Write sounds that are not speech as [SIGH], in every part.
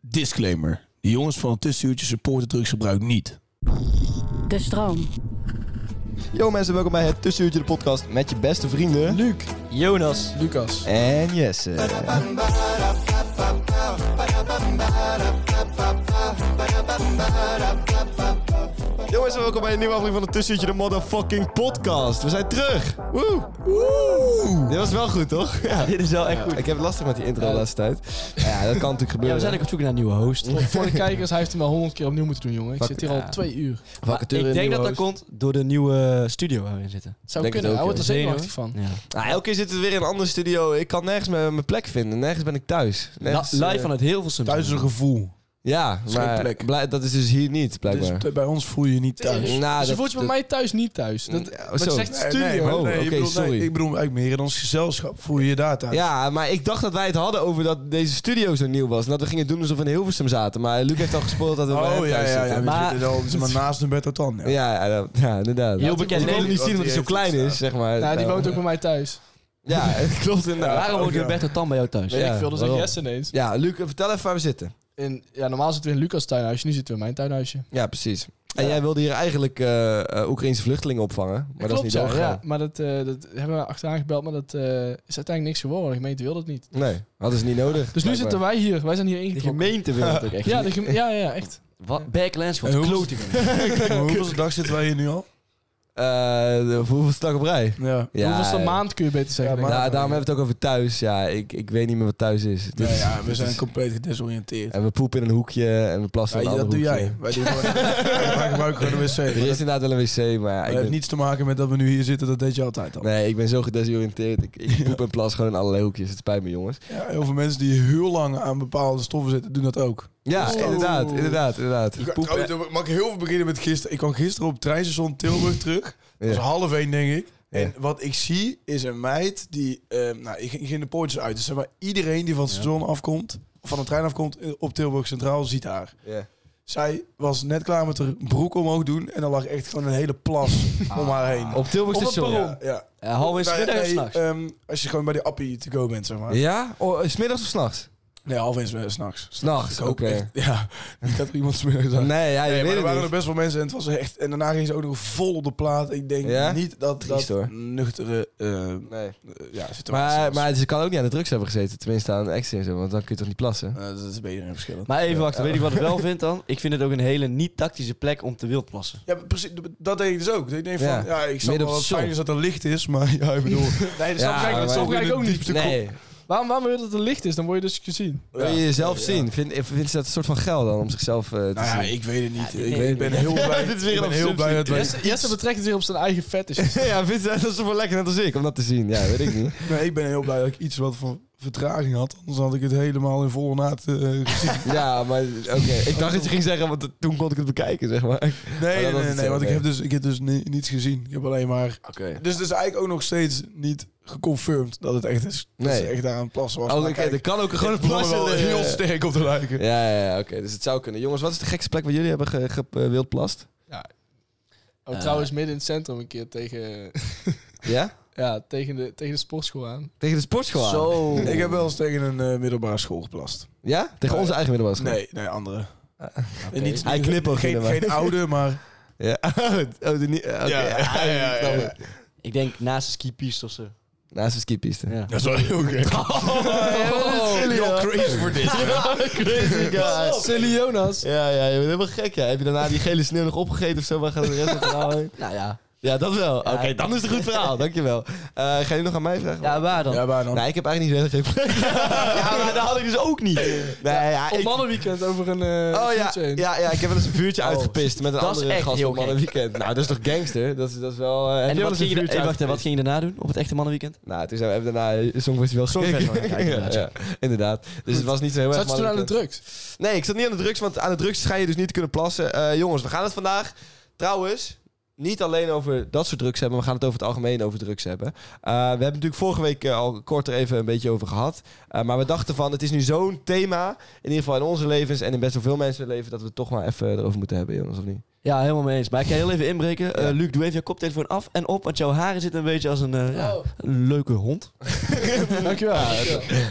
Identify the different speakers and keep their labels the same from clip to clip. Speaker 1: Disclaimer. De jongens van het tussenuurtje supporten drugsgebruik niet.
Speaker 2: De stroom.
Speaker 3: Yo mensen, welkom bij het Tussenuurtje de podcast met je beste vrienden... Luc, Jonas
Speaker 4: Lucas.
Speaker 3: en Jesse. Jongens, welkom bij een nieuwe aflevering van het Tussenuurtje de motherfucking podcast. We zijn terug! Woe! Dit was wel goed,
Speaker 4: [LAUGHS]
Speaker 3: toch? Ja.
Speaker 4: Dit is wel echt goed.
Speaker 3: Ik heb het lastig met die intro de laatste tijd. Ja, dat kan natuurlijk
Speaker 4: Ja,
Speaker 3: gebeuren.
Speaker 4: we zijn ook op zoek naar een nieuwe host.
Speaker 5: Voor, voor de kijkers, hij heeft hem al honderd keer opnieuw moeten doen, jongen. Ik
Speaker 3: Fuck,
Speaker 5: zit hier
Speaker 4: ja.
Speaker 5: al twee uur.
Speaker 3: Vacature,
Speaker 4: ik denk
Speaker 3: nieuwe
Speaker 4: dat dat
Speaker 3: host.
Speaker 4: komt door de nieuwe studio waar we in zitten.
Speaker 5: Het zou
Speaker 3: Denk
Speaker 5: kunnen,
Speaker 3: het
Speaker 5: hij
Speaker 3: ook,
Speaker 5: wordt er
Speaker 3: joh.
Speaker 5: zenuwachtig van.
Speaker 4: Ja.
Speaker 3: Ah, elke keer zitten we weer in een andere studio. Ik kan nergens mijn mijn plek vinden. Nergens ben ik thuis. Nergens,
Speaker 4: Li- live
Speaker 3: eh,
Speaker 4: van het Hilversum.
Speaker 1: Thuis is een gevoel.
Speaker 3: Ja,
Speaker 1: Is geen
Speaker 3: maar
Speaker 1: plek.
Speaker 3: blij- dat is dus hier niet,
Speaker 1: Dus
Speaker 3: blijkbaar.
Speaker 1: t- bij ons voel je je niet thuis.
Speaker 3: Nou,
Speaker 5: dus
Speaker 3: dat-
Speaker 5: je voelt je bij
Speaker 3: dat- Mm,
Speaker 5: mij thuis niet thuis. Dat,
Speaker 3: Ja,
Speaker 5: wat je
Speaker 3: zo.
Speaker 5: zegt,
Speaker 1: Nee,
Speaker 5: studio.
Speaker 1: nee, maar
Speaker 3: Oh,
Speaker 1: nee,
Speaker 3: oké,
Speaker 1: ik, bedoel, nee,
Speaker 3: sorry.
Speaker 1: ik bedoel eigenlijk meer in ons gezelschap voel je je daar thuis.
Speaker 3: Ja, maar ik dacht dat wij het hadden over dat deze studio zo nieuw was. En dat we gingen doen alsof we in Hilversum zaten. Maar Luc heeft al gespoord dat we bij hem
Speaker 1: Oh ja,
Speaker 3: thuis
Speaker 1: ja, ja.
Speaker 3: zitten.
Speaker 1: Maar,
Speaker 4: Maar-
Speaker 1: zit er al, maar naast Humberto Tan. Ja.
Speaker 3: Ja, ja, dat- ja, inderdaad.
Speaker 4: Heel
Speaker 3: Ik
Speaker 4: bekend.
Speaker 3: wilde het
Speaker 4: Nee,
Speaker 3: niet zien
Speaker 1: want
Speaker 3: omdat hij zo
Speaker 1: die
Speaker 3: klein
Speaker 1: heeft-
Speaker 3: is, zeg maar.
Speaker 5: nou, die
Speaker 3: Nou,
Speaker 5: woont ook bij mij
Speaker 3: [LAUGHS]
Speaker 5: thuis.
Speaker 3: Ja, het klopt inderdaad.
Speaker 4: Waarom woont
Speaker 1: Ja.
Speaker 4: Roberto Tan bij jou thuis?
Speaker 5: Weet
Speaker 3: Ja,
Speaker 5: ik veel, dat is
Speaker 3: waarom?
Speaker 5: Jesse ineens.
Speaker 3: Ja, Luc, vertel even waar we zitten.
Speaker 5: In, ja, normaal zitten we in Lucas' tuinhuisje, nu zitten we in mijn tuinhuisje.
Speaker 3: Ja, precies. En
Speaker 5: Ja.
Speaker 3: jij wilde hier eigenlijk eh eh, Oekraïnse vluchtelingen opvangen. Maar dat is niet
Speaker 5: ja,
Speaker 3: doorgegaan.
Speaker 5: ja, maar dat, eh, dat hebben we achteraan gebeld, maar dat eh, is uiteindelijk niks geworden. De gemeente wil dat niet.
Speaker 3: Nee, hadden ze niet nodig.
Speaker 5: Dus nu zitten wij hier, wij zijn hier
Speaker 4: De
Speaker 5: ingetrokken.
Speaker 4: gemeente wil het ook echt.
Speaker 5: Ja, de gem- ja, ja, echt.
Speaker 4: Wat? Backlands, wat
Speaker 1: En hoe-
Speaker 4: klote gemeente.
Speaker 1: [LAUGHS] Maar Hoeveel dag zitten wij hier nu al?
Speaker 3: Eh, Hoeveel dag op rij?
Speaker 1: Ja.
Speaker 3: Ja,
Speaker 5: Hoeveelste
Speaker 3: eh,
Speaker 5: maand kun je beter zeggen?
Speaker 1: Ja,
Speaker 5: denk ik.
Speaker 3: Nou, daarom hebben we het ook over thuis. Ja, ik, ik weet niet meer wat thuis is. Dit
Speaker 1: Ja,
Speaker 3: is-
Speaker 1: ja, we
Speaker 3: dit
Speaker 1: zijn
Speaker 3: is-
Speaker 1: compleet gedesoriënteerd.
Speaker 3: [LAUGHS] En we poepen in een hoekje en we plassen
Speaker 1: Ja,
Speaker 3: in een
Speaker 1: dat
Speaker 3: ander
Speaker 1: doe
Speaker 3: hoekje.
Speaker 1: jij. Wij, doen,
Speaker 3: [LAUGHS]
Speaker 1: gewoon- wij gebruiken gewoon een wc. Maar
Speaker 3: Er is
Speaker 1: dat-
Speaker 3: inderdaad wel een wc, maar ja,
Speaker 1: dat
Speaker 3: ik
Speaker 1: heeft
Speaker 3: ben,
Speaker 1: niets te maken met dat we nu hier zitten. Dat deed je altijd al.
Speaker 3: nee, ik ben zo gedesoriënteerd. Ik, ik poep en plas gewoon in allerlei hoekjes. Het spijt me, jongens.
Speaker 1: Ja, heel veel mensen die heel lang aan bepaalde stoffen zitten, doen dat ook.
Speaker 3: Ja,
Speaker 1: Oeh.
Speaker 3: inderdaad, inderdaad, inderdaad.
Speaker 1: Ik, trouwens, oh, dan mag ik heel veel beginnen met gisteren. Ik kwam gisteren op het treinstation Tilburg terug. Dat was
Speaker 3: Ja.
Speaker 1: half één, denk ik. En
Speaker 3: Ja.
Speaker 1: wat ik zie is een meid die... eh, nou, ik ging ging de poortjes uit. Dus zeg maar, iedereen die van het station afkomt... of van de trein afkomt eh, op Tilburg Centraal, ziet haar.
Speaker 3: Ja.
Speaker 1: Zij was net klaar met haar broek omhoog doen... en dan lag echt gewoon een hele plas om haar heen.
Speaker 4: Op Tilburg
Speaker 1: het
Speaker 4: station.
Speaker 1: perron. Ja.
Speaker 4: Ja, half
Speaker 1: Nou
Speaker 4: is
Speaker 1: ja,
Speaker 4: middag of
Speaker 1: nee,
Speaker 4: s'nachts.
Speaker 1: ehm, als je gewoon bij de appie to go bent, zeg maar.
Speaker 3: Ja? Oh, smiddags of s'nachts?
Speaker 1: Nee, half één s'nachts.
Speaker 3: S'nachts,
Speaker 1: Ik hoop
Speaker 3: oké.
Speaker 1: echt- Ja, [LAUGHS] ik had er iemand smiddags aan.
Speaker 3: Nee, ja,
Speaker 1: Nee, maar
Speaker 3: je weet
Speaker 1: er
Speaker 3: het
Speaker 1: waren
Speaker 3: niet.
Speaker 1: er best wel mensen en het was echt. En daarna ging ze ook nog vol op de plaat. Ik denk
Speaker 3: Ja?
Speaker 1: niet dat dat
Speaker 3: Triest, hoor.
Speaker 1: nuchtere eh,
Speaker 3: Nee.
Speaker 1: eh, ja, situatie
Speaker 3: Maar,
Speaker 1: was.
Speaker 3: maar ze kan ook niet aan de drugs hebben gezeten. Tenminste aan de ecstasy en zo, want dan kun je toch niet plassen?
Speaker 1: Eh, dat is beter en verschillend.
Speaker 4: Maar even wachten,
Speaker 3: Ja.
Speaker 4: weet ik wat ik wel vind dan? Ik vind het ook een hele niet-tactische plek om te wildplassen.
Speaker 1: Ja, maar precies. Dat denk ik dus ook. Ik denk van,
Speaker 3: Ja.
Speaker 1: ja, ik snap wel
Speaker 3: Midden op
Speaker 1: dat het
Speaker 3: station.
Speaker 1: fijn is dat er licht is, maar [LAUGHS] ja,
Speaker 3: [LAUGHS]
Speaker 1: ik bedoel...
Speaker 5: Nee,
Speaker 3: Ja,
Speaker 5: dat snap ik eigenlijk-
Speaker 3: maar-
Speaker 5: dat snap ik eigenlijk ook niet.
Speaker 3: Nee,
Speaker 5: Waarom, waarom wil je dat het licht is? Dan word je dus gezien.
Speaker 3: wil je jezelf zien? Vind, eh, vindt ze dat een soort van geil dan, om zichzelf eh, te
Speaker 1: nou ja,
Speaker 3: zien?
Speaker 1: ik weet het niet. ik
Speaker 4: weet
Speaker 1: ben,
Speaker 4: ik
Speaker 1: ben heel
Speaker 3: [LAUGHS]
Speaker 1: blij,
Speaker 3: Dit is weer
Speaker 1: ik ben
Speaker 3: een
Speaker 1: heel blij dat wij...
Speaker 5: Jesse, Jesse betrekt het weer op zijn eigen fetish.
Speaker 3: [LAUGHS] ja, vindt ze dat is toch wel lekker net als ik, om dat te zien? [LAUGHS] Ja, weet ik [LAUGHS] niet.
Speaker 1: Nee, ik ben heel blij dat ik iets wat van vertraging had. Anders had ik het helemaal in volle naad eh, gezien.
Speaker 3: Ja, [LAUGHS] maar oké. Ik dacht dat je ging zeggen, want eh, toen kon ik het bekijken, zeg maar. Oké.
Speaker 1: Nee,
Speaker 3: dat
Speaker 1: nee,
Speaker 3: was
Speaker 1: nee,
Speaker 3: het
Speaker 1: nee, want ik
Speaker 3: oké.
Speaker 1: heb dus, ik heb dus ni- niets gezien. Ik heb alleen maar Dus het is eigenlijk ook nog steeds niet geconfirmed dat het echt is. Dat
Speaker 3: Nee.
Speaker 1: ze echt daar aan het plassen was.
Speaker 3: Oh,
Speaker 1: Maar
Speaker 3: oké,
Speaker 1: kijk,
Speaker 3: er kan ook gewoon eh, een
Speaker 1: het begon
Speaker 3: plas
Speaker 1: wel
Speaker 3: in de-
Speaker 1: heel sterk op te lijken.
Speaker 3: Ja, ja, ja, oké. Dus het zou kunnen. Jongens, wat is de gekste plek waar jullie hebben ge- ge- eh, wildplast?
Speaker 5: Oh,
Speaker 4: Eh.
Speaker 5: trouwens, midden in het centrum een keer tegen,
Speaker 3: Ja?
Speaker 5: ja, tegen, de, tegen de sportschool aan.
Speaker 3: Tegen de sportschool aan?
Speaker 4: Zo.
Speaker 1: Ik heb wel eens tegen een eh, middelbare school geplast.
Speaker 3: Ja? Tegen onze eigen middelbare school?
Speaker 1: Nee, nee, andere. En niet,
Speaker 3: Ah, Hij knipoogde
Speaker 1: geen,
Speaker 3: erbij.
Speaker 1: geen oude, maar...
Speaker 3: Ja. Oh, de nie- [LAUGHS] oké.
Speaker 1: Ja, ja, ja, ja, ja.
Speaker 4: Ik denk naast de skipiste of zo.
Speaker 3: Naast de skipiste.
Speaker 4: Ja.
Speaker 1: Dat is wel heel
Speaker 3: [LAUGHS]
Speaker 1: gek.
Speaker 3: Oh,
Speaker 1: [LAUGHS] You're crazy for this.
Speaker 3: Crazy guy.
Speaker 5: Silly Jonas.
Speaker 3: Ja, ja, je bent helemaal gek. Ja. Heb je daarna die gele sneeuw nog opgegeten of zo? Waar gaat de rest van het verhaal heen?
Speaker 4: Nou ja.
Speaker 3: Ja, dat wel. Oké, dan is het een goed verhaal. Dankjewel. Eh ga je nog aan mij vragen?
Speaker 4: Ja, waar dan?
Speaker 1: Ja, waar dan?
Speaker 3: Nee, ik heb eigenlijk niet [LAUGHS] geen vraag. ja, maar dat had ik dus ook niet. Nee, ja,
Speaker 5: Op
Speaker 3: ik...
Speaker 5: mannenweekend over een eh
Speaker 3: Oh ja,
Speaker 5: fiets heen.
Speaker 3: ja, ja, ik heb wel eens een
Speaker 4: [LAUGHS]
Speaker 3: vuurtje uitgepist met een
Speaker 4: Oh, dat is
Speaker 3: andere
Speaker 4: echt
Speaker 3: gast
Speaker 4: heel
Speaker 3: op een weekend. Nou, dat is toch gangster? Dat is, dat is wel... eh, heb
Speaker 4: En
Speaker 3: jij wel
Speaker 4: wat
Speaker 3: eens een
Speaker 4: ging, je,
Speaker 3: vuurtje
Speaker 4: hey, wacht, hè, wat ging
Speaker 3: uitgepist?
Speaker 4: je daarna doen op het echte mannenweekend?
Speaker 3: Nou, toen zijn we even daarna eh, Songfestival
Speaker 4: Songfestival
Speaker 3: gekeken.
Speaker 4: [LAUGHS] gekeken, inderdaad,
Speaker 3: ja, inderdaad. Dus het was niet zo heel erg
Speaker 5: Zat je toen aan de
Speaker 3: mannelijk.
Speaker 5: drugs?
Speaker 3: Nee, ik zat niet aan de drugs, want aan de drugs ga je dus niet kunnen plassen. Eh, jongens, we gaan het vandaag trouwens niet alleen over dat soort drugs hebben, maar we gaan het over het algemeen over drugs hebben. Eh, we hebben natuurlijk vorige week eh, al kort er even een beetje over gehad. Eh, maar we dachten van, het is nu zo'n thema, in ieder geval in onze levens en in best wel veel mensen leven, dat we het toch maar even erover moeten hebben, jongens, of niet?
Speaker 4: Ja, helemaal mee eens. Maar ik ga heel even inbreken. Eh, Luc, doe even je koptelefoon af en op, want jouw haren zitten een beetje als een, eh, ja,
Speaker 3: Oh.
Speaker 4: een leuke
Speaker 3: [LAUGHS]
Speaker 4: hond.
Speaker 5: Dankjewel.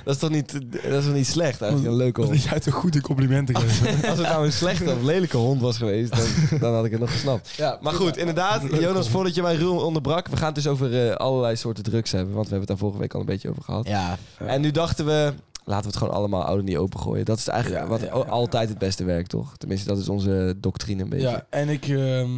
Speaker 3: Dat is toch niet, dat is toch niet slecht eigenlijk, een leuke
Speaker 1: [LAUGHS]
Speaker 3: hond.
Speaker 1: jij toch goede complimenten geeft.
Speaker 3: [LAUGHS] Als het nou een slechte of lelijke hond was geweest, dan, dan had ik het nog gesnapt.
Speaker 5: Ja,
Speaker 3: Maar goed, inderdaad, Jonas, voordat je mij ruw onderbrak, we gaan het dus over eh, allerlei soorten drugs hebben, want we hebben het daar vorige week al een beetje over gehad.
Speaker 4: Ja.
Speaker 3: En nu dachten we, laten we het gewoon allemaal oude niet opengooien. Dat is eigenlijk
Speaker 1: Ja,
Speaker 3: wat
Speaker 1: ja, ja,
Speaker 3: o-
Speaker 1: ja.
Speaker 3: altijd het beste werkt, toch? Tenminste, dat is onze doctrine een beetje.
Speaker 1: Ja, en ik ehm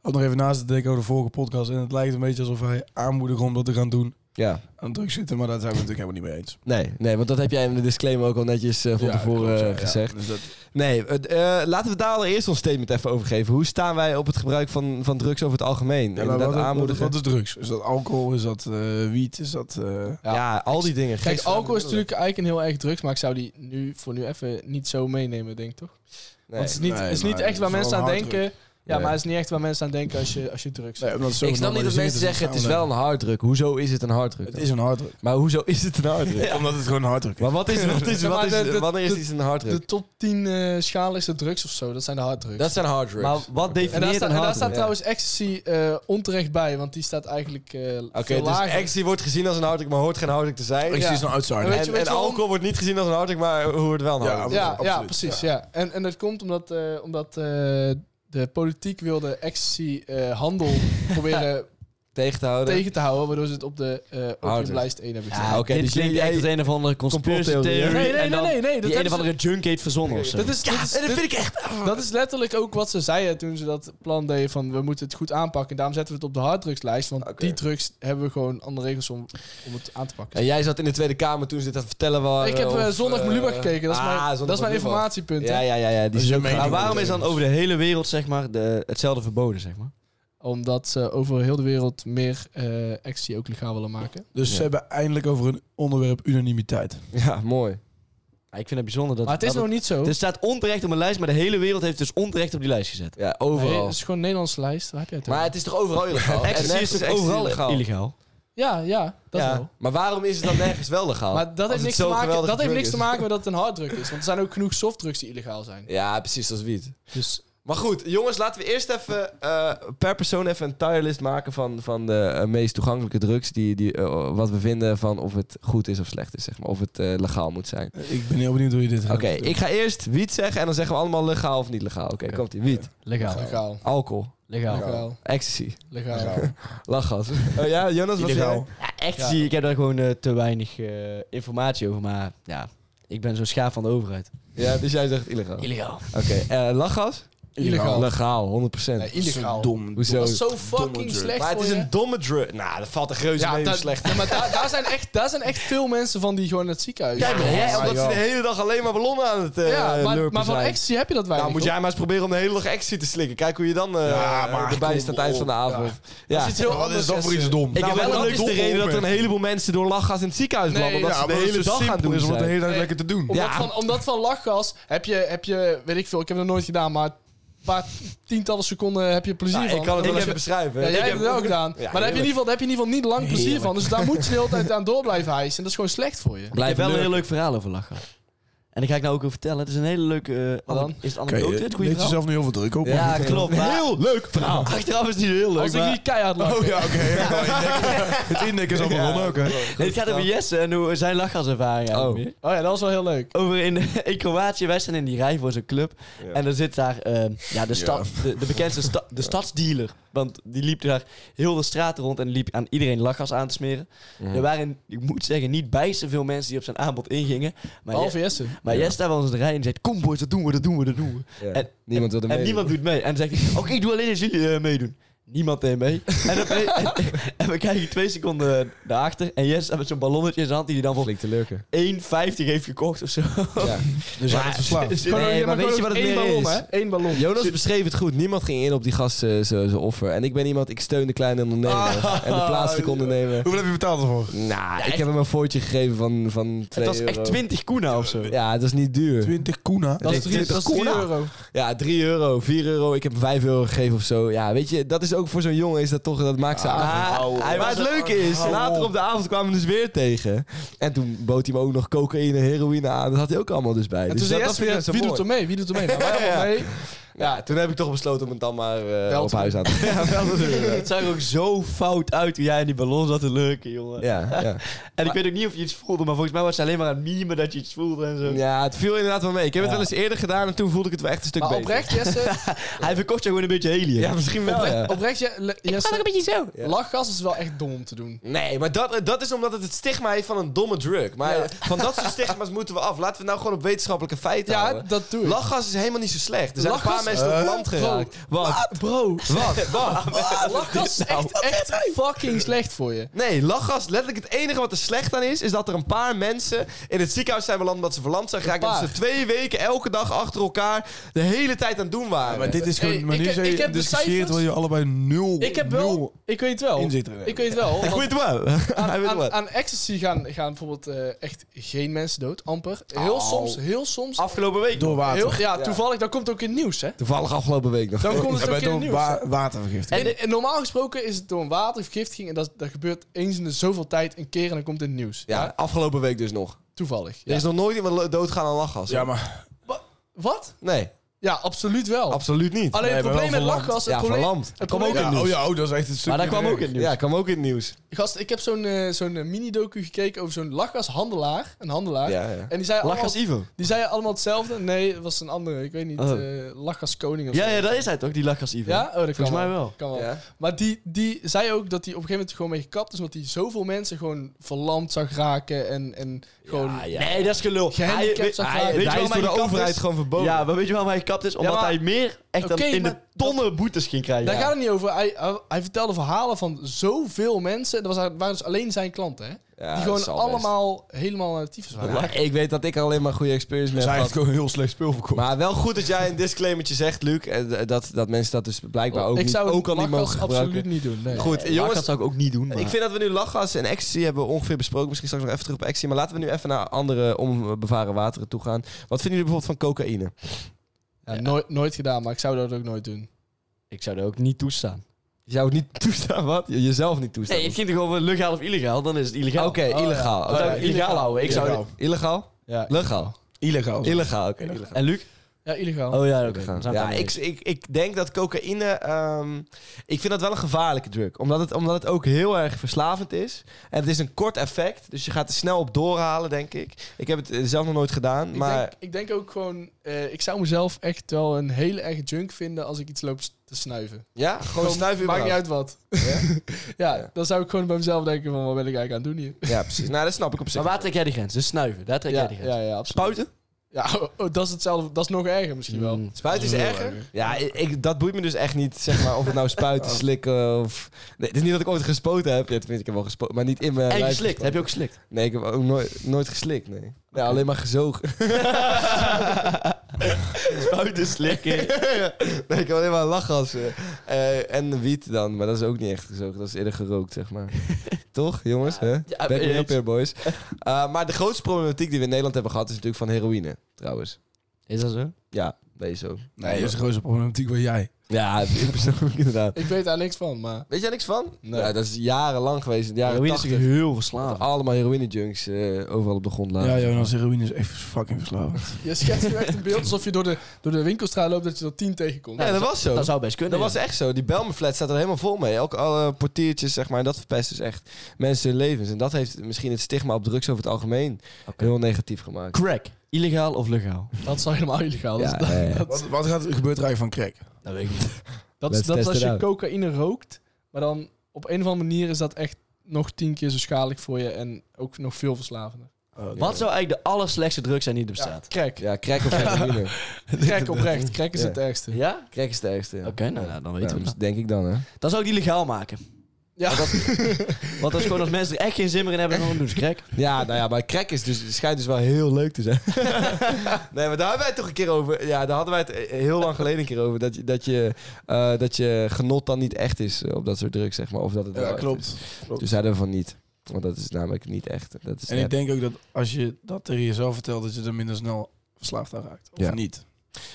Speaker 1: had nog even naast te denken over de vorige podcast. En het lijkt een beetje alsof hij aanmoedigt om dat te gaan doen.
Speaker 3: Ja.
Speaker 1: Aan drugs zitten, maar daar zijn we natuurlijk helemaal niet mee eens.
Speaker 3: Nee, nee, want dat heb jij in de disclaimer ook al netjes eh, van
Speaker 1: Ja,
Speaker 3: tevoren
Speaker 1: klopt, ja,
Speaker 3: eh,
Speaker 1: ja.
Speaker 3: gezegd.
Speaker 1: Dus dat,
Speaker 3: Nee, eh, eh, laten we daar allereerst ons statement even over geven. Hoe staan wij op het gebruik van, van drugs over het
Speaker 1: ja,
Speaker 3: algemeen?
Speaker 1: maar
Speaker 3: inderdaad
Speaker 1: wat, wat-
Speaker 3: aanmoedigen.
Speaker 1: wat is drugs? Is dat alcohol? Is dat eh, wiet? Is dat... eh,
Speaker 3: ja, al die dingen.
Speaker 5: Kijk,
Speaker 3: Gisteren-
Speaker 5: alcohol is natuurlijk eigenlijk een heel erg drugs, maar ik zou die nu voor nu even niet zo meenemen, denk ik toch?
Speaker 3: Nee.
Speaker 5: Want het is niet,
Speaker 1: Nee,
Speaker 5: het is
Speaker 1: maar
Speaker 5: niet echt
Speaker 1: het
Speaker 5: waar
Speaker 1: is wel
Speaker 5: mensen aan
Speaker 1: een harddruk.
Speaker 5: denken. Ja,
Speaker 3: Nee.
Speaker 5: maar het is niet echt waar mensen aan denken als je, als je drugs
Speaker 1: nee, omdat zo dus
Speaker 3: Ik snap niet dat
Speaker 1: genormaliseerd
Speaker 3: mensen zeggen,
Speaker 1: in
Speaker 3: het is wel een harddruk. Hoezo is het een harddruk?
Speaker 1: Het is een harddruk.
Speaker 3: Maar hoezo is het een harddruk?
Speaker 1: Omdat het gewoon een harddruk is.
Speaker 3: [LAUGHS] Maar wat is, wat is,
Speaker 5: Ja, maar
Speaker 3: wat
Speaker 5: de-
Speaker 3: is,
Speaker 5: de-
Speaker 3: wanneer is
Speaker 5: de-
Speaker 3: iets een harddruk?
Speaker 5: De top 10 eh schaal is de drugs of zo. Dat zijn de harddrugs.
Speaker 3: Dat zijn harddrugs.
Speaker 4: Maar wat
Speaker 5: en daar,
Speaker 4: definieert een
Speaker 5: staat- en daar
Speaker 4: harddruk?
Speaker 5: staat trouwens ecstasy eh, onterecht bij, want die staat eigenlijk eh
Speaker 3: Oké,
Speaker 5: veel lager.
Speaker 3: dus ecstasy wordt gezien als een harddruk, maar hoort geen harddruk te zijn.
Speaker 1: Ik
Speaker 5: Ja.
Speaker 1: zie zo'n outsider.
Speaker 5: Weet
Speaker 3: En,
Speaker 5: je- weet
Speaker 3: en
Speaker 5: je waarom?
Speaker 3: alcohol wordt niet gezien als een harddruk, maar hoort wel een
Speaker 1: Ja,
Speaker 3: harddruk.
Speaker 5: ja,
Speaker 1: absoluut,
Speaker 5: ja,
Speaker 1: absoluut,
Speaker 5: precies.
Speaker 1: ja.
Speaker 5: Ja. En, en dat komt omdat, eh, omdat eh, de politiek wilde ecstasy-handel proberen
Speaker 3: Tegen te houden.
Speaker 5: tegen te houden, waardoor ze het op de eh opiumlijst 1 hebben gezet.
Speaker 4: Ja,
Speaker 3: oké,
Speaker 4: dit
Speaker 3: dus
Speaker 4: klinkt
Speaker 3: jij-
Speaker 4: echt als een of andere conspiracy
Speaker 3: Complottheorie.
Speaker 4: theory.
Speaker 5: Nee, nee,
Speaker 4: en
Speaker 5: nee,
Speaker 4: dan
Speaker 5: nee, nee, dat
Speaker 4: Die een
Speaker 5: hebben
Speaker 4: of andere junk heeft verzonnen of zo.
Speaker 5: Dat is, dat, is,
Speaker 3: en dat
Speaker 5: dit-
Speaker 3: vind ik echt... Ah.
Speaker 5: dat is letterlijk ook wat ze zeiden toen ze dat plan deden van we moeten het goed aanpakken. En daarom zetten we het op de harddrugslijst, want die drugs hebben we gewoon andere regels om, om het aan te pakken.
Speaker 3: En jij zat in de Tweede Kamer toen ze dit aan het vertellen waren.
Speaker 5: ik heb eh,
Speaker 3: of,
Speaker 5: zondag
Speaker 3: eh,
Speaker 5: mijn Lubach gekeken, dat is
Speaker 3: ah,
Speaker 5: mijn,
Speaker 3: zondag
Speaker 5: dat is mijn
Speaker 3: Lubach.
Speaker 5: informatiepunt. hè.
Speaker 3: Ja, ja, ja, ja. Die
Speaker 1: Dat is
Speaker 3: is
Speaker 1: Dus je
Speaker 3: ook
Speaker 1: mening.
Speaker 4: Maar
Speaker 3: grappig.
Speaker 4: waarom is dan over de hele wereld zeg maar, de, hetzelfde verboden? Zeg maar?
Speaker 5: Omdat ze over heel de wereld meer eh ecstasy ook legaal willen maken.
Speaker 1: Dus ze
Speaker 3: Ja.
Speaker 1: hebben eindelijk over een onderwerp unanimiteit.
Speaker 3: Ja, mooi.
Speaker 4: Ja, ik vind het bijzonder dat...
Speaker 5: maar het is
Speaker 4: dat
Speaker 5: nog niet zo.
Speaker 4: het staat onterecht op een lijst, maar de hele wereld heeft dus onterecht op die lijst gezet.
Speaker 3: Ja,
Speaker 5: Nee,
Speaker 3: overal.
Speaker 5: het is gewoon een Nederlandse lijst. Waar heb jij het
Speaker 3: maar
Speaker 5: over?
Speaker 3: het is toch overal illegaal? En
Speaker 4: Ecstasy is
Speaker 3: nergens
Speaker 4: toch overal
Speaker 3: illegaal?
Speaker 4: illegaal?
Speaker 5: Ja, ja, dat
Speaker 3: ja.
Speaker 5: wel.
Speaker 3: Maar waarom is het dan nergens wel legaal?
Speaker 5: Maar dat
Speaker 3: Als het
Speaker 5: heeft, niks
Speaker 3: zo'n
Speaker 5: te, maken,
Speaker 3: geweldige
Speaker 5: dat heeft
Speaker 3: drug
Speaker 5: niks
Speaker 3: is.
Speaker 5: te maken met dat het een harddrug is. Want er zijn ook genoeg softdrugs die illegaal zijn.
Speaker 3: Ja, precies, dat is wiet.
Speaker 5: Dus
Speaker 3: Maar goed, jongens, laten we eerst even eh, per persoon even een tire list maken van, van de eh, meest toegankelijke drugs. Die, die, eh, wat we vinden van of het goed is of slecht is, zeg maar. Of het eh, legaal moet zijn.
Speaker 1: Ik ben heel benieuwd hoe je dit gaat
Speaker 3: Oké, ik ga eerst wiet zeggen en dan zeggen we allemaal legaal of niet legaal. Oké, komt ie. Wiet,
Speaker 4: Legaal.
Speaker 5: legaal.
Speaker 3: alcohol,
Speaker 4: Legaal.
Speaker 5: Legaal. [LAUGHS]
Speaker 3: ecstasy,
Speaker 5: Legaal.
Speaker 3: lachgas. Oh ja, Jonas, wat
Speaker 1: Illegaal.
Speaker 3: legaal.
Speaker 4: Ja, ecstasy, ik heb daar gewoon eh, te weinig eh, informatie over, maar ja, ik ben zo'n schaaf van de overheid.
Speaker 3: Ja, dus jij zegt illegaal. Oké,
Speaker 4: Illegaal.
Speaker 3: eh, lachgas?
Speaker 5: Illegaal.
Speaker 3: Legaal, 100%.
Speaker 5: Nee, illegaal.
Speaker 1: Dom.
Speaker 3: Hoezo?
Speaker 5: Dat is zo
Speaker 1: Domme
Speaker 5: fucking
Speaker 1: drug.
Speaker 5: slecht
Speaker 3: Maar het
Speaker 5: voor
Speaker 3: is
Speaker 5: je.
Speaker 3: een domme drug. Nou, dat valt de reuze
Speaker 5: Ja,
Speaker 3: mee hoe
Speaker 5: dat-
Speaker 3: slecht.
Speaker 5: Ja, maar daar, daar, zijn echt, daar zijn echt veel mensen van die gewoon naar het ziekenhuis
Speaker 3: Kijk maar, hè,
Speaker 1: Ja,
Speaker 3: omdat ze
Speaker 1: joh.
Speaker 3: de hele dag alleen maar ballonnen aan het eh
Speaker 5: Ja, maar,
Speaker 3: lurpen
Speaker 5: maar van
Speaker 3: zijn.
Speaker 5: ecstasy heb je dat weinig.
Speaker 3: Nou, moet
Speaker 5: hoor.
Speaker 3: jij maar eens proberen om de hele dag ecstasy te slikken. Kijk hoe je dan eh
Speaker 1: Ja, maar
Speaker 3: erbij is aan
Speaker 1: kom
Speaker 3: het eind van de
Speaker 1: op.
Speaker 3: avond. Ja.
Speaker 5: Dat is iets heel
Speaker 1: Wat
Speaker 5: anders.
Speaker 1: is dat voor
Speaker 5: is,
Speaker 1: iets
Speaker 5: eh,
Speaker 1: dom?
Speaker 3: Ik
Speaker 4: Nou,
Speaker 3: heb
Speaker 4: maar
Speaker 3: wel een
Speaker 4: dat
Speaker 3: leuk
Speaker 4: is de
Speaker 3: idee
Speaker 4: reden
Speaker 3: dat er een heleboel mensen door lachgas in het ziekenhuis
Speaker 5: Nee,
Speaker 3: belanden. omdat
Speaker 5: ja,
Speaker 3: ze de hele dag aan het doen
Speaker 1: is om het de
Speaker 3: zijn.
Speaker 1: hele dag
Speaker 5: Nee.
Speaker 1: lekker te doen.
Speaker 5: Omdat,
Speaker 3: Ja.
Speaker 5: van, omdat van lachgas heb je, heb je, weet ik veel, ik heb het nog nooit gedaan, maar een paar tientallen seconden heb je plezier
Speaker 3: Ja,
Speaker 5: van.
Speaker 3: ik kan het wel
Speaker 5: Ik
Speaker 3: even
Speaker 5: heb-
Speaker 3: beschrijven.
Speaker 5: Ja,
Speaker 3: Ik
Speaker 5: jij
Speaker 3: heb-
Speaker 5: hebt het wel gedaan.
Speaker 3: Ja,
Speaker 5: maar daar heb, je in ieder geval, daar heb je in ieder geval niet lang plezier van. Dus daar moet je de hele tijd aan door blijven hijsen. En dat is gewoon slecht voor je.
Speaker 4: Ik heb wel een
Speaker 3: leuk.
Speaker 4: heel leuk verhaal over lachen. En ik ga ik nou ook over vertellen. Het is een hele leuke... eh,
Speaker 5: Wat dan?
Speaker 4: is het
Speaker 1: Oké,
Speaker 4: anekdote? het
Speaker 1: je
Speaker 4: goede
Speaker 1: leed
Speaker 4: verhaal?
Speaker 1: jezelf nu heel veel druk op. [LAUGHS]
Speaker 4: Ja, klopt. maar-
Speaker 3: Heel leuk verhaal.
Speaker 4: Achteraf is het niet heel leuk,
Speaker 5: Als ik
Speaker 4: maar-
Speaker 5: niet keihard lach.
Speaker 1: Oh [LAUGHS] ja, oké. het indekken is allemaal
Speaker 3: Ja.
Speaker 1: rond ook, hè? Dus
Speaker 4: Nee, het gaat over Jesse en hoe zijn lachgaservaring eigenlijk
Speaker 3: Oh.
Speaker 4: meer.
Speaker 5: Oh ja, dat was wel heel leuk.
Speaker 4: Over in, [LAUGHS] in Kroatië, wij staan in die rij voor zo'n club.
Speaker 3: Ja.
Speaker 4: En er zit daar ehm, ja, de, stad, de, de bekendste sta- de stadsdealer. Want die liep daar heel de straat rond en liep aan iedereen lachgas aan te smeren.
Speaker 3: Mhm.
Speaker 4: Er waren, ik moet zeggen, niet bijster veel mensen die op zijn aanbod ingingen. Maar,
Speaker 5: Behalve
Speaker 4: Je-
Speaker 5: Jesse.
Speaker 4: maar Jesse daar wel eens in de rij en zei, kom boys, dat doen we, dat doen we, dat doen we. En-
Speaker 3: niemand wilde
Speaker 4: en
Speaker 3: mee.
Speaker 4: niemand doet mee. En dan zegt hij, oké, ik doe alleen als jullie eh, meedoen. Niemand deed mee. En, dan, [LAUGHS] en, en we kijken twee seconden daarachter. En Jesse staat met zo'n ballonnetje in zijn hand die hij dan voor
Speaker 3: [LAUGHS] flink te lurken.
Speaker 4: 1,50 heeft gekocht of zo.
Speaker 3: Ja.
Speaker 1: Dus jij bent verslaafd.
Speaker 5: Gewoon,
Speaker 3: Nee,
Speaker 5: je
Speaker 3: maar
Speaker 5: mag
Speaker 3: weet je
Speaker 5: gewoon
Speaker 3: wat het
Speaker 5: één
Speaker 3: meer
Speaker 5: ballon,
Speaker 3: is?
Speaker 5: Hè? Eén ballon.
Speaker 3: Jonas beschreef het goed. Niemand ging in op die gast eh, zo zo offer. En ik ben iemand, ik steun de kleine ondernemer. en de plaatselijke ondernemer.
Speaker 1: Hoeveel heb je betaald ervoor?
Speaker 3: Nou, ik heb hem een voortje gegeven van, van 2
Speaker 4: Het was
Speaker 3: euro.
Speaker 4: echt 20 koena of zo.
Speaker 3: Ja, dat is niet duur.
Speaker 1: 20 kuna.
Speaker 5: Dat is
Speaker 3: Nee,
Speaker 5: 3
Speaker 3: dit is cola.
Speaker 5: euro.
Speaker 3: Ja, 3 euro, 4 euro. Ik heb 5 euro gegeven of zo. Ja, weet je, dat is ook voor zo'n jongen, is dat toch, dat maakt ze aan.
Speaker 4: ouwe.
Speaker 3: maar het
Speaker 4: Hou
Speaker 3: leuke is,
Speaker 1: op.
Speaker 3: later op de avond kwamen we dus weer tegen. En toen bood hij me ook nog cocaïne, heroïne aan. Dat had hij ook allemaal dus bij.
Speaker 5: En
Speaker 3: Dus dat,
Speaker 5: toen zei
Speaker 3: dat
Speaker 5: Jesse,
Speaker 3: vind ik zo
Speaker 5: wie
Speaker 3: mooi.
Speaker 5: doet er mee? Wie doet [LAUGHS] er mee? Nou, wij allemaal mee.
Speaker 3: Ja, toen heb ik toch besloten om het dan maar eh,
Speaker 5: Wel
Speaker 3: op
Speaker 5: te
Speaker 3: huis aan te Ja, wel te doen.
Speaker 4: Het zag er ook zo fout uit hoe jij in die ballon zat te lurken, jongen.
Speaker 3: Ja, ja.
Speaker 4: En ik weet ook niet of je iets voelde, maar volgens mij was het alleen maar aan het mimen dat je iets voelde en zo.
Speaker 3: ja, het viel inderdaad wel mee. Ik heb het
Speaker 4: Ja.
Speaker 3: wel eens eerder gedaan en toen voelde ik het wel echt een stuk
Speaker 5: Maar
Speaker 3: beter.
Speaker 5: oprecht, Jesse,
Speaker 4: Hij verkocht jou gewoon een beetje helium.
Speaker 3: Ja, misschien wel.
Speaker 5: oprecht,
Speaker 3: ja.
Speaker 5: oprecht Je- Le- Jesse,
Speaker 4: beetje zo.
Speaker 3: Ja.
Speaker 5: lachgas is wel echt dom om te doen.
Speaker 3: Nee, maar dat, eh, dat is omdat het het stigma heeft van een domme drug. Maar
Speaker 5: Ja.
Speaker 3: van dat soort stigma's [LAUGHS] moeten we af. Laten we het nou gewoon op wetenschappelijke feiten
Speaker 5: Ja,
Speaker 3: houden.
Speaker 5: dat doe ik.
Speaker 3: Lachgas is helemaal niet zo slecht. Er zijn
Speaker 5: Lachgas-
Speaker 3: een paar mensen op
Speaker 1: Eh?
Speaker 3: het land geraakt. Wat? [LAUGHS]
Speaker 5: Bro,
Speaker 3: Wat? Wat?
Speaker 5: lachgas is nou, echt, echt fucking slecht voor je.
Speaker 3: Nee, lachgas, letterlijk het enige wat er slecht aan is... is dat er een paar mensen in het ziekenhuis zijn beland... omdat ze verlamd zijn geraakt. En dat
Speaker 5: paar.
Speaker 3: ze twee weken elke dag achter elkaar... de hele tijd aan het doen waren.
Speaker 1: Maar dit is gewoon...
Speaker 5: Hey,
Speaker 1: maar
Speaker 5: ik
Speaker 1: nu
Speaker 5: heb-
Speaker 1: zei
Speaker 5: ik
Speaker 1: je,
Speaker 5: heb de
Speaker 1: discussieert
Speaker 5: cijfers.
Speaker 1: wil je allebei nul.
Speaker 5: Ik heb wel,
Speaker 1: nul
Speaker 5: ik weet wel,
Speaker 1: inzicht erin.
Speaker 5: [LAUGHS] ik weet wel, want
Speaker 3: weet [LAUGHS] wel. Hij weet
Speaker 5: aan,
Speaker 3: wel.
Speaker 5: aan ecstasy gaan, gaan bijvoorbeeld eh, echt geen mensen dood, amper. Heel soms, heel soms,
Speaker 4: Afgelopen week.
Speaker 1: Door water.
Speaker 5: heel, ja, toevallig, dan komt het ook in het nieuws, hè.
Speaker 3: Toevallig afgelopen week nog.
Speaker 5: Dan
Speaker 1: Ja,
Speaker 5: komt het ook
Speaker 1: bij
Speaker 5: in het
Speaker 1: door
Speaker 5: nieuws.
Speaker 1: wa-
Speaker 5: hè.
Speaker 1: watervergiftiging.
Speaker 5: En, en normaal gesproken is het door een watervergiftiging en dat, dat gebeurt eens in de zoveel tijd een keer en dan komt het in het nieuws.
Speaker 3: Ja, afgelopen week dus nog.
Speaker 5: Toevallig.
Speaker 3: Er
Speaker 5: Ja.
Speaker 3: is nog nooit iemand doodgaan aan lachgas.
Speaker 1: Ja, maar...
Speaker 5: Wat?
Speaker 3: Nee,
Speaker 5: Ja, absoluut wel.
Speaker 3: absoluut niet.
Speaker 5: Alleen het
Speaker 1: Nee,
Speaker 5: probleem
Speaker 1: maar wel
Speaker 5: met
Speaker 1: verlamd.
Speaker 5: lachgas, het
Speaker 3: Ja,
Speaker 5: probleem...
Speaker 3: verlamd.
Speaker 5: Het probleem,
Speaker 1: Ja, oh ja, oh, dat is echt het stuk.
Speaker 4: Maar daar kwam ook
Speaker 1: in.
Speaker 4: in nieuws.
Speaker 3: Ja, kwam ook in het nieuws.
Speaker 5: Gast, ik heb zo'n eh, zo'n eh, mini-docu gekeken over zo'n lachgashandelaar. Een handelaar.
Speaker 3: Ja, ja.
Speaker 5: En die zei,
Speaker 4: Lachgas
Speaker 5: allemaal,
Speaker 4: Ivo.
Speaker 5: die zei allemaal hetzelfde. Nee, het was een andere. Ik weet niet.
Speaker 4: Oh.
Speaker 5: eh, lachgaskoning of
Speaker 4: Ja,
Speaker 5: zo.
Speaker 4: ja, dat is hij toch, die lachgas Ivo?
Speaker 5: Ja? Oh, dat
Speaker 4: Volgens
Speaker 5: kan
Speaker 4: mij wel.
Speaker 5: Kan wel. Maar die, die zei ook dat hij op een gegeven moment gewoon mee gekapt is. Omdat hij zoveel mensen gewoon verlamd zag raken. En, en gewoon...
Speaker 4: Ah, ja. Nee, dat is gelul.
Speaker 5: Gehandicapt
Speaker 4: Hij-
Speaker 5: zag
Speaker 4: hij-
Speaker 5: raken.
Speaker 4: Weet je
Speaker 3: Hij
Speaker 4: waarom
Speaker 3: is door
Speaker 4: hij
Speaker 3: de overheid
Speaker 4: overheid
Speaker 3: gewoon verboden.
Speaker 4: Ja, maar weet je waarom hij gekapt is? Omdat
Speaker 5: maar-
Speaker 4: hij meer echt dan
Speaker 5: Oké,
Speaker 4: in de
Speaker 5: maar
Speaker 4: tonnen boetes ging krijgen.
Speaker 5: Daar
Speaker 4: Ja.
Speaker 5: gaat het niet over. Hij, hij, hij vertelde verhalen van zoveel mensen. Dat was, waren dus alleen zijn klanten, hè?
Speaker 3: Ja,
Speaker 5: die
Speaker 3: dat
Speaker 5: gewoon
Speaker 3: zal best.
Speaker 5: allemaal helemaal naar de tyfus waren.
Speaker 3: Ja, ik weet dat ik alleen maar goede experience
Speaker 1: Dat
Speaker 3: mee
Speaker 1: is
Speaker 3: heb
Speaker 1: eigenlijk
Speaker 3: gehad.
Speaker 1: gewoon heel slecht speel verkocht.
Speaker 3: Maar wel goed dat jij een disclaimertje zegt, Luc. En eh, dat, dat mensen dat dus blijkbaar ook,
Speaker 5: Oh, ik
Speaker 3: niet,
Speaker 5: zou
Speaker 3: ook al niet
Speaker 5: lachgas
Speaker 3: mogen gebruiken.
Speaker 5: absoluut niet doen. Nee.
Speaker 3: Goed,
Speaker 4: Ja,
Speaker 3: jongens.
Speaker 4: dat zou ik ook niet doen.
Speaker 3: Ik vind dat we nu lachgas en ecstasy hebben ongeveer besproken. Misschien straks nog even terug op ecstasy. Maar laten we nu even naar andere onbevaren wateren toe gaan. Wat vinden jullie bijvoorbeeld van cocaïne?
Speaker 5: Ja, nooit, nooit gedaan, maar ik zou dat ook nooit doen.
Speaker 4: ik zou er ook niet toestaan.
Speaker 3: Je zou het niet [LAUGHS] toestaan, wat? Je- Jezelf niet toestaan.
Speaker 4: Nee, het ging toch over legaal of illegaal? Dan is het illegaal.
Speaker 3: Oké, illegaal.
Speaker 4: Dat zou
Speaker 3: Oké.
Speaker 4: ik illegaal houden. Ik zou...
Speaker 1: Illegaal. Oh.
Speaker 3: Illegaal?
Speaker 5: Ja,
Speaker 3: Legaal.
Speaker 1: Illegaal.
Speaker 3: Illegaal, oké. illegaal.
Speaker 4: En Luc?
Speaker 5: ja illegaal.
Speaker 4: Oh ja, oké. Dan
Speaker 3: Oké,
Speaker 4: zijn we
Speaker 3: Ja,
Speaker 4: daarmee
Speaker 3: ik,
Speaker 4: eens.
Speaker 3: ik, ik denk dat cocaïne... ehm, ik vind dat wel een gevaarlijke drug. Omdat het, omdat het ook heel erg verslavend is. En het is een kort effect. Dus je gaat er snel op doorhalen, denk ik. Ik heb het eh, zelf nog nooit gedaan.
Speaker 5: ik,
Speaker 3: Maar
Speaker 5: denk, ik denk ook gewoon... eh, ik zou mezelf echt wel een hele erge junk vinden als ik iets loop s- te snuiven.
Speaker 3: ja, gewoon snuiven
Speaker 5: Maakt niet
Speaker 3: überhaupt.
Speaker 5: uit wat. Ja?
Speaker 3: Ja.
Speaker 5: dan zou ik gewoon bij mezelf denken van... Wat ben ik eigenlijk aan het doen hier?
Speaker 3: Ja, precies. Nou, dat snap ik op zich.
Speaker 4: Maar waar trek jij die grens? Dus snuiven, daar trek jij
Speaker 5: Ja,
Speaker 4: die grens.
Speaker 5: ja, ja, absoluut.
Speaker 3: Spuiten?
Speaker 5: Ja, [LAUGHS] oh, oh, dat is hetzelfde. Dat is nog erger misschien wel.
Speaker 4: Mm.
Speaker 3: Spuiten is
Speaker 1: Heel
Speaker 3: erger.
Speaker 1: erg.
Speaker 3: Ja, ik, ik- dat boeit me dus echt niet, zeg maar, of het nou spuiten, [LAUGHS] slikken of... Nee, het is niet dat ik ooit gespoten heb. Ja, tenminste, ik heb wel gespoten, maar niet in mijn
Speaker 4: En
Speaker 3: lijf
Speaker 4: geslikt. Heb je ook geslikt?
Speaker 3: Nee, ik heb ook nooit, nooit geslikt, nee. Nee, alleen maar gezogen.
Speaker 4: Spuiten,
Speaker 3: [LAUGHS]
Speaker 4: slikken.
Speaker 3: nee, ik heb alleen maar lachgas. eh, eh, en wiet dan, maar dat is ook niet echt gezogen. Dat is eerder gerookt,
Speaker 4: [LAUGHS]
Speaker 3: zeg maar. Toch, jongens? hè?
Speaker 4: ja,
Speaker 3: Back me
Speaker 4: eens.
Speaker 3: up here,
Speaker 4: [LAUGHS]
Speaker 3: boys. Eh, maar de grootste problematiek die we in Nederland hebben gehad... is natuurlijk van heroïne, trouwens.
Speaker 4: Is dat zo?
Speaker 3: Ja, dat is zo.
Speaker 1: Nee, dat is een grote problematiek waar jij.
Speaker 3: Ja, [LAUGHS] persoonlijk inderdaad.
Speaker 5: Ik weet daar niks van, maar...
Speaker 3: Weet jij niks van?
Speaker 5: Nee.
Speaker 3: Ja, dat is jarenlang geweest. In de jaren
Speaker 4: Heroïne is
Speaker 3: 80.
Speaker 4: heel
Speaker 3: Dat
Speaker 4: verslaafd.
Speaker 3: allemaal heroïne-junks eh, overal op de grond lagen.
Speaker 1: Ja, Jonas, heroïne is even fucking verslaafd.
Speaker 5: Je schetst nu echt een beeld alsof je door de, door de winkelstraat loopt dat je er tien tegenkomt.
Speaker 3: Ja, dat was zo.
Speaker 4: Dat zou best kunnen.
Speaker 3: Dat was echt zo. Die Belmenflat staat er helemaal vol mee. Elk alle portiertjes, zeg maar. En dat verpest dus echt mensen hun levens. En dat heeft misschien het stigma op drugs over het algemeen heel negatief gemaakt.
Speaker 4: Crack. Illegaal of legaal?
Speaker 5: Dat is al helemaal illegaal. Dat is-
Speaker 3: Ja,
Speaker 5: dat,
Speaker 3: ja, ja.
Speaker 5: [LAUGHS] dat-
Speaker 1: Wat, wat gaat, gebeurt er eigenlijk van crack?
Speaker 4: Dat weet ik niet.
Speaker 5: dat is
Speaker 3: Let's
Speaker 5: dat is
Speaker 3: test
Speaker 5: als
Speaker 3: it
Speaker 5: je
Speaker 3: out.
Speaker 5: cocaïne rookt, maar dan op een of andere manier is dat echt nog tien keer zo schadelijk voor je en ook nog veel verslavender.
Speaker 4: Wat zou eigenlijk de allerslechtste drug zijn die er
Speaker 5: Ja,
Speaker 4: bestaat?
Speaker 5: crack.
Speaker 3: Ja, crack
Speaker 4: [LAUGHS]
Speaker 3: of heroïne. [LAUGHS]
Speaker 5: Crack oprecht. Crack is
Speaker 3: Ja.
Speaker 5: het ergste.
Speaker 4: Ja?
Speaker 3: Crack is de ergste. ja.
Speaker 4: Oké, nou, nou, dan
Speaker 3: Ja,
Speaker 4: weten we
Speaker 3: dat
Speaker 4: dat.
Speaker 3: denk ik dan, hè.
Speaker 4: Dan zou ik die legaal maken.
Speaker 5: Ja.
Speaker 4: Want dat is gewoon als mensen er echt geen zin meer in hebben, dan doen ze crack.
Speaker 3: Ja, nou ja, maar crack is dus, schijnt dus wel heel leuk te [LAUGHS] zijn. nee, maar daar hebben wij het toch een keer over. Ja, daar hadden wij het heel lang geleden een keer over. Dat, je- dat, je, eh, dat je genot dan niet echt is op dat soort drugs, zeg maar. Of dat het wel
Speaker 1: Ja,
Speaker 3: echt
Speaker 1: klopt.
Speaker 3: is. Dus zeiden we van niet. Want dat is namelijk niet echt. Dat is
Speaker 1: En
Speaker 3: nep.
Speaker 1: ik denk ook dat als je dat tegen jezelf vertelt, dat je er minder snel verslaafd aan raakt. Of
Speaker 3: Ja.
Speaker 1: niet.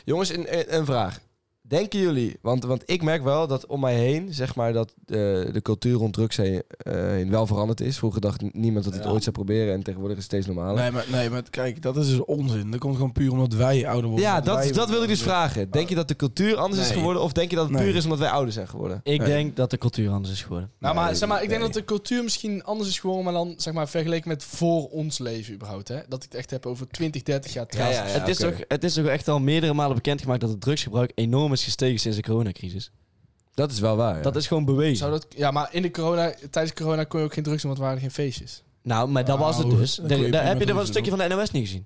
Speaker 3: Jongens, een, een, een vraag. Denken jullie, want, want ik merk wel dat om mij heen, zeg maar, dat eh, de cultuur rond drugs heen, eh, heen wel veranderd is. Vroeger dacht niemand dat het
Speaker 1: Ja.
Speaker 3: ooit zou proberen en tegenwoordig is het steeds normaler.
Speaker 1: Nee maar, nee, maar kijk, dat is dus onzin. Dat komt gewoon puur omdat wij ouder worden.
Speaker 3: Ja,
Speaker 1: Omdat
Speaker 3: dat,
Speaker 1: wij-
Speaker 3: dat wilde ik dus vragen. Denk je dat de cultuur anders is
Speaker 1: Nee.
Speaker 3: geworden? Of denk je dat het
Speaker 1: Nee.
Speaker 3: puur is omdat wij ouder zijn geworden?
Speaker 4: Ik denk dat de cultuur anders is geworden.
Speaker 5: Nou, maar,
Speaker 3: Nee,
Speaker 5: zeg maar ik denk
Speaker 3: nee.
Speaker 5: dat de cultuur misschien anders is geworden, maar dan zeg maar vergeleken met voor ons leven überhaupt. Hè? Dat ik het echt heb over 20, 30 jaar terug.
Speaker 3: Ja,
Speaker 4: het, is
Speaker 3: oké.
Speaker 4: toch, het is toch echt al meerdere malen bekendgemaakt dat het drugsgebruik enorm is gestegen sinds de coronacrisis.
Speaker 3: Dat is wel waar.
Speaker 4: Dat is gewoon bewezen.
Speaker 5: Zou dat, ja, maar in de corona, tijdens corona kon je ook geen drugs doen, want er waren geen feestjes.
Speaker 4: Nou, maar dat
Speaker 1: Nou,
Speaker 4: was het dus.
Speaker 1: dat kun je
Speaker 4: Daar, daar
Speaker 1: prima
Speaker 4: heb je, er
Speaker 1: doen,
Speaker 4: was een stukje van de NOS niet
Speaker 1: [LAUGHS]
Speaker 4: gezien.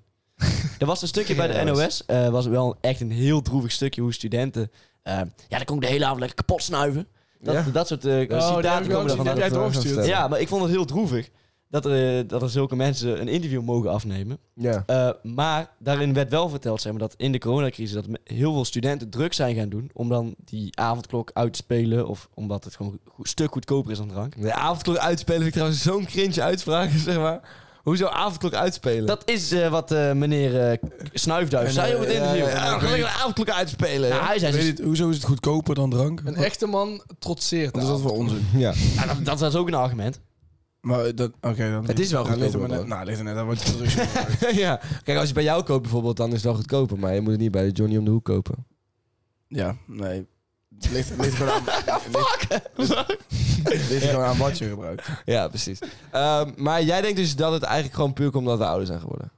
Speaker 4: er was een stukje bij de
Speaker 3: Ja,
Speaker 4: NOS. eh was wel echt een heel droevig stukje hoe studenten... eh, ja, dan kon ik de hele avond lekker kapot snuiven. Dat,
Speaker 3: Ja.
Speaker 4: dat soort eh,
Speaker 1: Oh,
Speaker 5: Oh, die heb ik
Speaker 4: citaten
Speaker 5: wel
Speaker 4: komen
Speaker 5: gezien.
Speaker 4: daarvan
Speaker 5: Die
Speaker 4: uit.
Speaker 5: heb jij doorgestuurd.
Speaker 4: Ja, maar ik vond het heel droevig dat er, eh, dat er zulke mensen een interview mogen afnemen.
Speaker 3: Ja.
Speaker 4: Eh, maar daarin werd wel verteld zeg maar, dat in de coronacrisis dat me- heel veel studenten druk zijn gaan doen om dan die avondklok uit te spelen of omdat het gewoon een stuk goedkoper is dan drank.
Speaker 3: De avondklok uitspelen vind ik trouwens zo'n cringe uitspraak, [LAUGHS] zeg maar. Hoezo avondklok uitspelen?
Speaker 4: Dat is eh, wat eh, meneer eh Snuifduif
Speaker 1: En,
Speaker 4: zei op het
Speaker 1: eh,
Speaker 4: interview. Ah,
Speaker 1: ja,
Speaker 3: Ja, gelijk een avondklok uitspelen.
Speaker 4: Nou, hij zei,
Speaker 1: Weet je, hoezo is het goedkoper dan drank?
Speaker 5: Een echte man trotseert.
Speaker 1: Wat is dat voor onzin?
Speaker 3: Ja.
Speaker 4: nou, dat, dat was ook een argument.
Speaker 1: Maar dat, oké, dan...
Speaker 3: Het is wel
Speaker 1: dan ligt er
Speaker 3: goedkoper
Speaker 1: maar net-
Speaker 3: dan.
Speaker 1: Nou, ligt er net aan wat je drugs
Speaker 3: [LAUGHS]
Speaker 1: gebruikt.
Speaker 3: ja. Kijk, als je bij jou koopt bijvoorbeeld, dan is het wel goedkoper. Maar je moet het niet bij de Johnny om de hoek
Speaker 4: [LAUGHS]
Speaker 3: kopen.
Speaker 1: Ja, nee. Het ligt, het ligt gewoon
Speaker 4: [LAUGHS]
Speaker 1: aan...
Speaker 3: [LAUGHS]
Speaker 4: Ah,
Speaker 1: Fuck! Het ligt gewoon aan wat je gebruikt.
Speaker 3: Ja, precies. Ehm, maar jij denkt dus dat het eigenlijk gewoon puur komt omdat we ouder zijn geworden?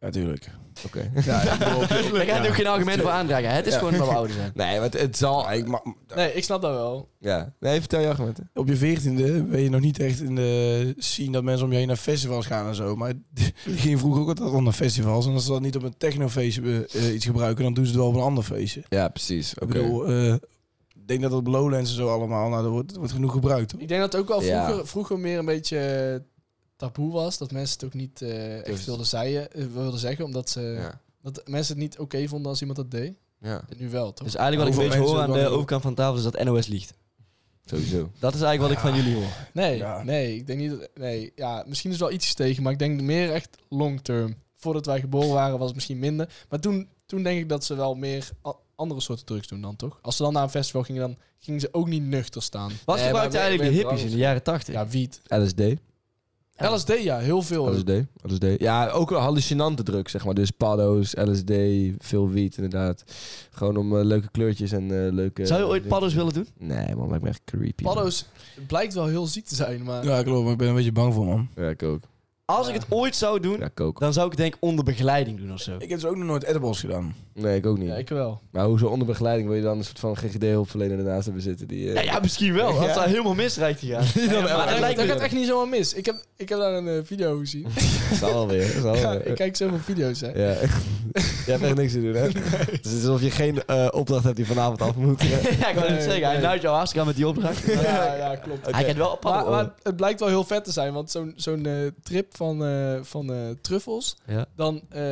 Speaker 1: Natuurlijk.
Speaker 3: Oké.
Speaker 1: Ja, ik
Speaker 4: [LAUGHS]
Speaker 1: bedoel, op-
Speaker 4: Daar ga je ook geen argument voor aandragen. Het is gewoon dat we ouder zijn.
Speaker 3: Nee, want het zal...
Speaker 1: Ja, ik ma-
Speaker 5: Nee, ik snap dat wel.
Speaker 3: Ja. Nee, vertel je argumenten.
Speaker 1: op je veertiende ben je nog niet echt in de scene dat mensen om je heen naar festivals gaan en zo. Maar [LAUGHS] die gingen vroeger ook altijd al naar festivals. En als ze dat niet op een technofeestje eh, iets gebruiken, dan doen ze het wel op een ander feestje.
Speaker 3: Ja, precies. Oké.
Speaker 1: Ik bedoel, eh, ik denk dat op Lowlands en zo allemaal, nou, dat wordt, wordt genoeg gebruikt. hoor.
Speaker 5: Ik denk dat het ook wel
Speaker 3: Ja.
Speaker 5: vroeger, vroeger meer een beetje eh, taboe was. Dat mensen het ook niet eh, echt
Speaker 3: Dus-
Speaker 5: wilden, zeien, eh, wilden zeggen, omdat ze,
Speaker 3: Ja.
Speaker 5: dat mensen het niet oké vonden als iemand dat deed.
Speaker 3: ja,
Speaker 5: En nu wel, toch?
Speaker 4: Dus eigenlijk wat
Speaker 1: Hoeveel
Speaker 4: ik een beetje hoor
Speaker 1: mensen dan
Speaker 4: aan de
Speaker 1: ook?
Speaker 4: overkant van de tafel is dat NOS liegt.
Speaker 3: sowieso.
Speaker 4: Dat is eigenlijk wat ik van jullie hoor.
Speaker 5: nee,
Speaker 1: ja.
Speaker 5: nee, ik denk niet dat... Nee, ja, misschien is wel iets tegen, maar ik denk meer echt long term. Voordat wij geboren waren was het misschien minder. Maar toen, toen denk ik dat ze wel meer a- andere soorten drugs doen dan, toch? Als ze dan naar een festival gingen, dan gingen ze ook niet nuchter staan.
Speaker 4: Wat
Speaker 3: Nee,
Speaker 4: gebruikten
Speaker 3: maar
Speaker 4: eigenlijk de
Speaker 3: meer-
Speaker 4: hippies in de jaren tachtig?
Speaker 5: Ja, wiet.
Speaker 3: LSD.
Speaker 5: LSD, ja, heel veel.
Speaker 4: Oh,
Speaker 3: LSD. LSD. Ja, ook een hallucinante druk, zeg maar. Dus paddo's, LSD, veel wiet, inderdaad. Gewoon om eh, leuke kleurtjes en eh, leuke...
Speaker 4: Zou je ooit paddo's willen doen?
Speaker 3: Nee, man, lijkt me echt creepy. man.
Speaker 5: Paddo's blijkt wel heel ziek te zijn, maar...
Speaker 1: Ja, klopt. Maar ik ben er een beetje bang voor, man.
Speaker 3: Ja, kook.
Speaker 4: Als ik het ooit zou doen,
Speaker 3: Ja, kook.
Speaker 4: dan zou ik het denk ik onder begeleiding doen of zo.
Speaker 1: Ik heb dus ook nog nooit edibles gedaan.
Speaker 3: Nee, ik ook niet.
Speaker 5: Ja, ik wel.
Speaker 3: Maar hoezo onder begeleiding wil je dan een soort van GGD-hulpverlener ernaast hebben zitten? Die, eh,
Speaker 4: Ja, ja, misschien wel. Als dat helemaal misreikt hier.
Speaker 3: dan
Speaker 4: maar
Speaker 3: wel.
Speaker 4: dat
Speaker 5: dat,
Speaker 4: lijkt
Speaker 5: gaat
Speaker 4: me...
Speaker 5: echt niet zomaar mis. Ik heb, ik heb daar een eh, video over gezien.
Speaker 3: [LAUGHS] Zal wel weer. Zal wel
Speaker 5: [LAUGHS] ja,
Speaker 3: weer.
Speaker 5: ik kijk zoveel video's, hè.
Speaker 3: eh, Ja. [LAUGHS] Jij hebt echt niks te doen, hè? Dus Het is alsof je geen eh, opdracht hebt die vanavond af moet.
Speaker 4: [LAUGHS] [LAUGHS] Ja, ik wou net
Speaker 5: Nee,
Speaker 4: zeggen. Hij
Speaker 5: nee.
Speaker 4: nuit jou hartstikke aan met die opdracht.
Speaker 5: Ja, ja, klopt.
Speaker 4: Hij kent wel
Speaker 5: Maar,
Speaker 4: padden.
Speaker 5: maar het blijkt wel heel vet te zijn, want zo'n zo'n eh, trip van, eh, van eh, truffels,
Speaker 4: Ja.
Speaker 5: dan eh,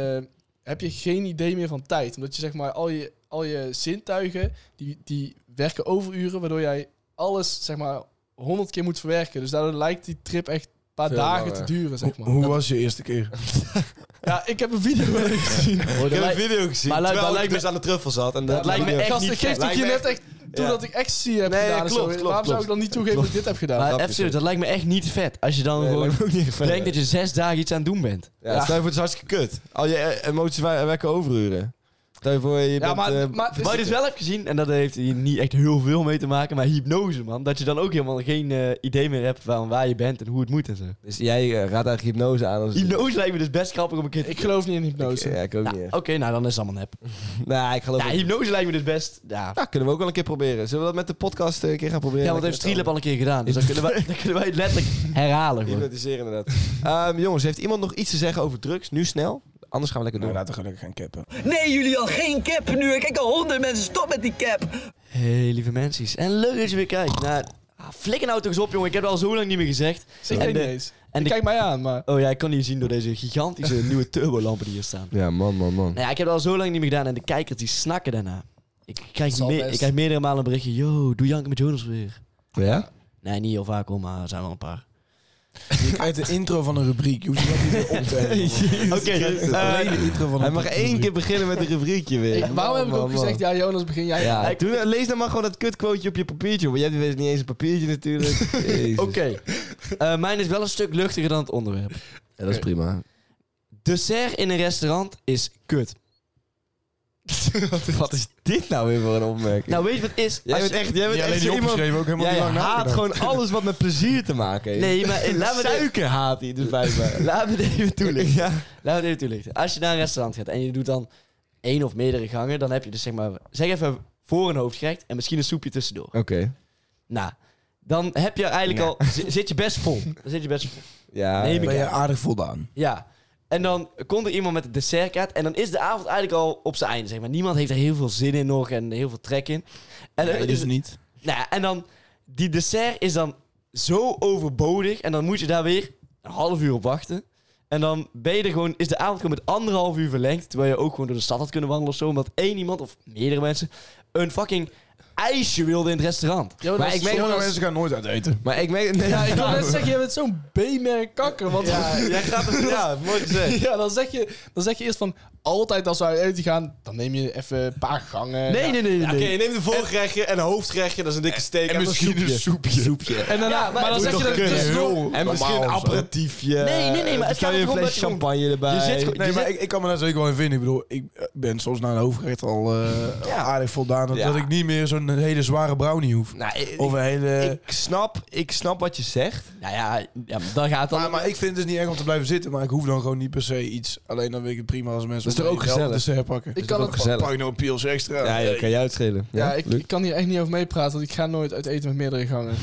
Speaker 5: heb je geen idee meer van tijd. Omdat je zeg maar al je, al je zintuigen, die, die werken overuren, waardoor jij alles zeg maar honderd keer moet verwerken. Dus daardoor lijkt die trip echt een paar
Speaker 3: Veel
Speaker 5: dagen
Speaker 3: langer.
Speaker 5: te duren,
Speaker 1: Hoe,
Speaker 5: zeg maar.
Speaker 1: hoe
Speaker 5: Dat-
Speaker 1: was je eerste keer?
Speaker 5: ja, ik heb een video wel eens gezien.
Speaker 4: dat
Speaker 3: Ik heb
Speaker 4: lijkt-
Speaker 3: een video gezien.
Speaker 4: Maar luid,
Speaker 3: Maar terwijl
Speaker 4: dat
Speaker 3: dat
Speaker 4: lijkt
Speaker 3: lijkt
Speaker 4: me-
Speaker 3: dus aan de truffel zat. En
Speaker 4: dat lijkt me echt
Speaker 5: Gasten,
Speaker 4: niet vet.
Speaker 5: geeft toch je net echt Doordat ik ecstasy heb
Speaker 3: Nee,
Speaker 5: gedaan. en zo.
Speaker 3: klopt, klopt,
Speaker 5: Waarom zou
Speaker 3: klopt.
Speaker 5: ik dan niet toegeven dat ik dit heb gedaan?
Speaker 4: Maar
Speaker 3: snap je,
Speaker 4: even serieus, dat lijkt me echt niet vet. Als je dan
Speaker 3: Nee,
Speaker 4: gewoon
Speaker 3: lijkt me ook
Speaker 4: [LAUGHS]
Speaker 3: niet
Speaker 4: denkt dat je zes dagen iets aan het doen bent.
Speaker 3: Ja, Stel je voor, het is hartstikke kut. Al je eh, emoties we- wekken overuren. Stel je voor, je
Speaker 5: Ja,
Speaker 3: bent...
Speaker 5: maar-
Speaker 3: eh,
Speaker 5: maar het is-
Speaker 4: Wat ik dus wel heb gezien, en dat heeft hier niet echt heel veel mee te maken, maar hypnose, man. Dat je dan ook helemaal geen eh, idee meer hebt van waar je bent en hoe het moet en zo.
Speaker 3: dus jij eh, raadt eigenlijk hypnose aan. Als
Speaker 4: Hypnose lijkt me dus best grappig om een keer te
Speaker 5: Ik geloof niet in hypnose.
Speaker 3: Ja, ik eh, ook niet.
Speaker 4: Nou,
Speaker 3: echt.
Speaker 4: Oké, nou dan is het allemaal nep.
Speaker 3: Nou, ik geloof
Speaker 4: Ja,
Speaker 3: ook-
Speaker 4: hypnose lijkt me dus best... Ja,
Speaker 3: Nou, kunnen we ook wel een keer proberen. Zullen we dat met de podcast eh, een keer gaan proberen?
Speaker 4: ja want dat heeft Streelab al een keer gedaan. Dus dan kunnen
Speaker 3: [LAUGHS]
Speaker 4: wij, dan kunnen wij het letterlijk herhalen gewoon.
Speaker 3: Hypnotiseren inderdaad. Ehm, jongens, heeft iemand nog iets te zeggen over drugs? Nu snel. Anders gaan we lekker
Speaker 1: Nou,
Speaker 3: door.
Speaker 1: laten we gelukkig gaan cappen.
Speaker 6: Nee, jullie al geen cap nu. Kijk al honderd mensen, stop met die cap.
Speaker 4: Hey, lieve mensen. En leuk dat je weer kijkt naar... Ah, flikker nou toch eens op, jongen. Ik heb het al zo lang niet meer gezegd.
Speaker 5: Ik
Speaker 4: En eh,
Speaker 5: weet
Speaker 4: de-
Speaker 5: niet eens.
Speaker 4: en
Speaker 5: Je
Speaker 4: de-
Speaker 5: kijkt mij aan, maar...
Speaker 4: Oh ja, ik kan hier zien door deze gigantische
Speaker 3: [LAUGHS]
Speaker 4: nieuwe turbolampen die hier staan.
Speaker 3: Ja, man, man, man.
Speaker 4: Nou ja, ik heb het al zo lang niet meer gedaan en de kijkers die snakken daarna. Ik krijg,
Speaker 5: Zal
Speaker 4: me-
Speaker 5: best.
Speaker 4: ik krijg meerdere malen een berichtje. Yo, doe Janke met Jonas weer.
Speaker 3: [LAUGHS] Ja?
Speaker 4: Nee, niet heel vaak hoor, maar er zijn wel een
Speaker 3: [LAUGHS]
Speaker 4: paar.
Speaker 1: Je krijgt de intro van een rubriek. Je hoeft je dat niet meer op te hebben.
Speaker 4: Oké, eh,
Speaker 1: Alleen de intro van
Speaker 3: Hij
Speaker 1: een
Speaker 3: mag één keer beginnen met een rubriekje weer.
Speaker 5: Ik- waarom heb ik
Speaker 3: Man,
Speaker 5: ook
Speaker 3: man,
Speaker 5: gezegd, ja Jonas, begin jij.
Speaker 3: Ja, doe, nou- lees dan maar gewoon dat kutquoteje op je papiertje. Want jij hebt niet eens een papiertje
Speaker 4: [LAUGHS]
Speaker 3: natuurlijk. Jezus.
Speaker 4: Oké. Eh, mijn is wel een stuk luchtiger dan het onderwerp.
Speaker 3: Ja, dat is prima.
Speaker 4: Dessert in een restaurant is kut.
Speaker 3: Wat is dit nou weer voor een opmerking?
Speaker 4: Nou, weet je wat het is?
Speaker 3: jij
Speaker 4: Als
Speaker 3: bent
Speaker 4: je-
Speaker 3: echt, jij bent
Speaker 1: Niet alleen
Speaker 3: echt
Speaker 1: die
Speaker 3: zo iemand...
Speaker 1: opgeschreven, ook helemaal
Speaker 3: Jij
Speaker 1: niet lang
Speaker 3: haat
Speaker 1: nagedacht.
Speaker 4: [LAUGHS]
Speaker 3: gewoon alles wat met plezier te maken heeft.
Speaker 4: Nee, maar eh, laten we dit-
Speaker 3: Suiker haat hij dus
Speaker 4: [LAUGHS]
Speaker 3: blijkbaar.
Speaker 4: laten we dit even toelichten.
Speaker 3: Ja.
Speaker 4: Laten we dit even toelichten. Als je naar een restaurant gaat en je doet dan één of meerdere gangen, dan heb je dus zeg maar, zeg even voor een hoofdgerecht en misschien een soepje tussendoor.
Speaker 3: Oké.
Speaker 4: Nou, dan heb je eigenlijk al, zi- zit je best vol. Dan zit je best vol.
Speaker 3: Ja.
Speaker 4: Neem ik
Speaker 1: Ben
Speaker 4: aan.
Speaker 1: je aardig voldaan?
Speaker 4: Ja. En dan komt er iemand met de dessertkaart. En dan is de avond eigenlijk al op zijn einde. Zeg maar. Niemand heeft er heel veel zin in nog en heel veel trek in. En, dan-
Speaker 1: Nee, dus niet.
Speaker 4: Nou, ja, en dan, die dessert is dan zo overbodig. En dan moet je daar weer een half uur op wachten. En dan ben je er gewoon, is de avond gewoon met anderhalf uur verlengd. Terwijl je ook gewoon door de stad had kunnen wandelen of zo. Omdat één iemand of meerdere mensen een fucking ijsje wilde in het restaurant.
Speaker 5: Jonas,
Speaker 3: Maar ik merk
Speaker 1: Sommige
Speaker 3: wel
Speaker 1: mensen gaan nooit uit eten.
Speaker 3: Maar ik merk... Nee,
Speaker 5: Ja, ik wil net [LAUGHS] zeggen, je bent zo'n B-merk kakker. Want
Speaker 3: Ja, jij gaat het... Ja, mooi gezegd.
Speaker 5: [LAUGHS] Ja, dan zeg, je, dan zeg je eerst van, altijd als we uit eten gaan, dan neem je even een paar gangen.
Speaker 4: Nee,
Speaker 5: Ja.
Speaker 4: nee, nee, nee.
Speaker 3: Ja,
Speaker 4: nee.
Speaker 3: Oké, je neemt een voorgerechtje en een hoofdgerechtje. Dat is een dikke steek.
Speaker 1: En misschien een soepje. soepje.
Speaker 5: En daarna,
Speaker 4: Ja, maar
Speaker 5: maar, dan
Speaker 4: doe
Speaker 5: zeg je
Speaker 4: toch
Speaker 5: dat
Speaker 4: een keer.
Speaker 5: tussendoor.
Speaker 3: En misschien een aperitiefje.
Speaker 4: Nee, nee, nee, maar het
Speaker 3: Dan
Speaker 4: gaat
Speaker 3: je een
Speaker 4: erom dat
Speaker 3: flesje
Speaker 4: je gewoon-
Speaker 3: champagne erbij.
Speaker 4: je zit gewoon-
Speaker 1: Nee, maar ik, ik kan me daar zeker wel in vinden. Ik bedoel, ik eh, ben soms naar een hoofdgerecht al eh, aardig voldaan. Dat,
Speaker 3: Ja.
Speaker 1: dat ik niet meer zo'n hele zware brownie hoef.
Speaker 3: Nou, ik-
Speaker 1: Of een hele...
Speaker 3: ik, snap, ik snap wat je zegt.
Speaker 4: Nou ja, ja dan gaat het dan.
Speaker 1: maar, maar ik vind het dus niet erg om te blijven zitten. Maar ik hoef dan gewoon niet per se iets. Alleen dan weet ik het prima als mensen...
Speaker 3: Dat is toch ook
Speaker 1: wel een
Speaker 3: gezellig?
Speaker 1: dessert pakken.
Speaker 5: Ik kan, het,
Speaker 1: Pak ik nou een pils extra?
Speaker 3: Ja, ja, kan jou het schelen.
Speaker 5: ja, ik, ik kan hier echt niet over meepraten, want ik ga nooit uit eten met meerdere gangen.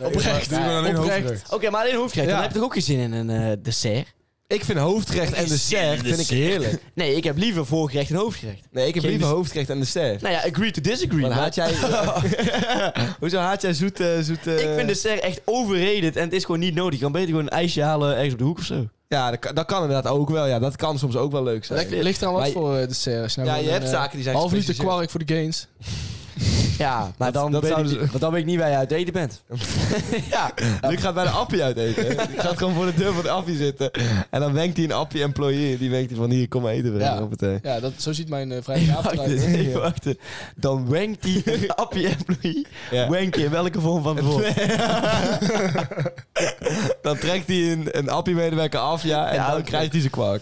Speaker 5: oprecht.
Speaker 1: Doe maar alleen
Speaker 5: Oprecht.
Speaker 1: hoofdgerecht.
Speaker 4: Oké, maar alleen hoofdgerecht.
Speaker 3: Ja.
Speaker 4: Dan heb je toch ook geen zin in een eh, dessert?
Speaker 3: ik vind hoofdgerecht en dessert vind ik heerlijk.
Speaker 4: Nee, ik heb liever voorgerecht en hoofdgerecht.
Speaker 3: [LAUGHS] Nee, ik heb
Speaker 4: Geen
Speaker 3: liever
Speaker 4: des-
Speaker 3: hoofdgerecht en dessert.
Speaker 4: Nou ja, agree to disagree.
Speaker 3: Maar
Speaker 4: maar
Speaker 3: haat jij...
Speaker 4: eh, [LAUGHS]
Speaker 3: Hoezo haat jij eh, zoete... zoete
Speaker 4: Ik vind dessert echt overrated en het is gewoon niet nodig. Je kan beter gewoon een ijsje halen ergens op de hoek of zo.
Speaker 3: Ja, dat, kan- dat kan inderdaad ook wel. Ja, dat kan soms ook wel leuk zijn.
Speaker 5: Lekker, ligt eraan wat
Speaker 3: Maar-
Speaker 5: voor eh, dessert. Als je nou
Speaker 3: Ja,
Speaker 5: gewoon
Speaker 3: je hebt
Speaker 5: een, eh,
Speaker 3: zaken die zijn
Speaker 5: Half liter
Speaker 3: gespecialiseerd.
Speaker 5: kwark voor de gains.
Speaker 4: Ja, maar dan,
Speaker 3: dat
Speaker 4: weet ik,
Speaker 3: zouden ze-
Speaker 4: niet- want dan weet ik niet waar je uit eten bent. [LAUGHS]
Speaker 3: Ja, [LAUGHS] Luc gaat bij de appie uit eten. [LAUGHS] hè. Die gaat gewoon voor de deur van de appie zitten. En dan wenkt hij een appie employee. Die wenkt hij van hier, kom maar eten brengen
Speaker 5: Ja.
Speaker 3: op het thee.
Speaker 5: Ja, dat, zo ziet mijn eh
Speaker 4: Even
Speaker 5: vrijdagavond
Speaker 4: wachten,
Speaker 5: eruit.
Speaker 4: even wachten. Dan wankt die een appie employee.
Speaker 3: Ja.
Speaker 4: Wank je in welke vorm van het woord?
Speaker 3: Dan trekt hij een, een appie-medewerker af, ja. En
Speaker 4: Ja,
Speaker 3: dan
Speaker 4: oké.
Speaker 3: krijgt hij zijn kwak.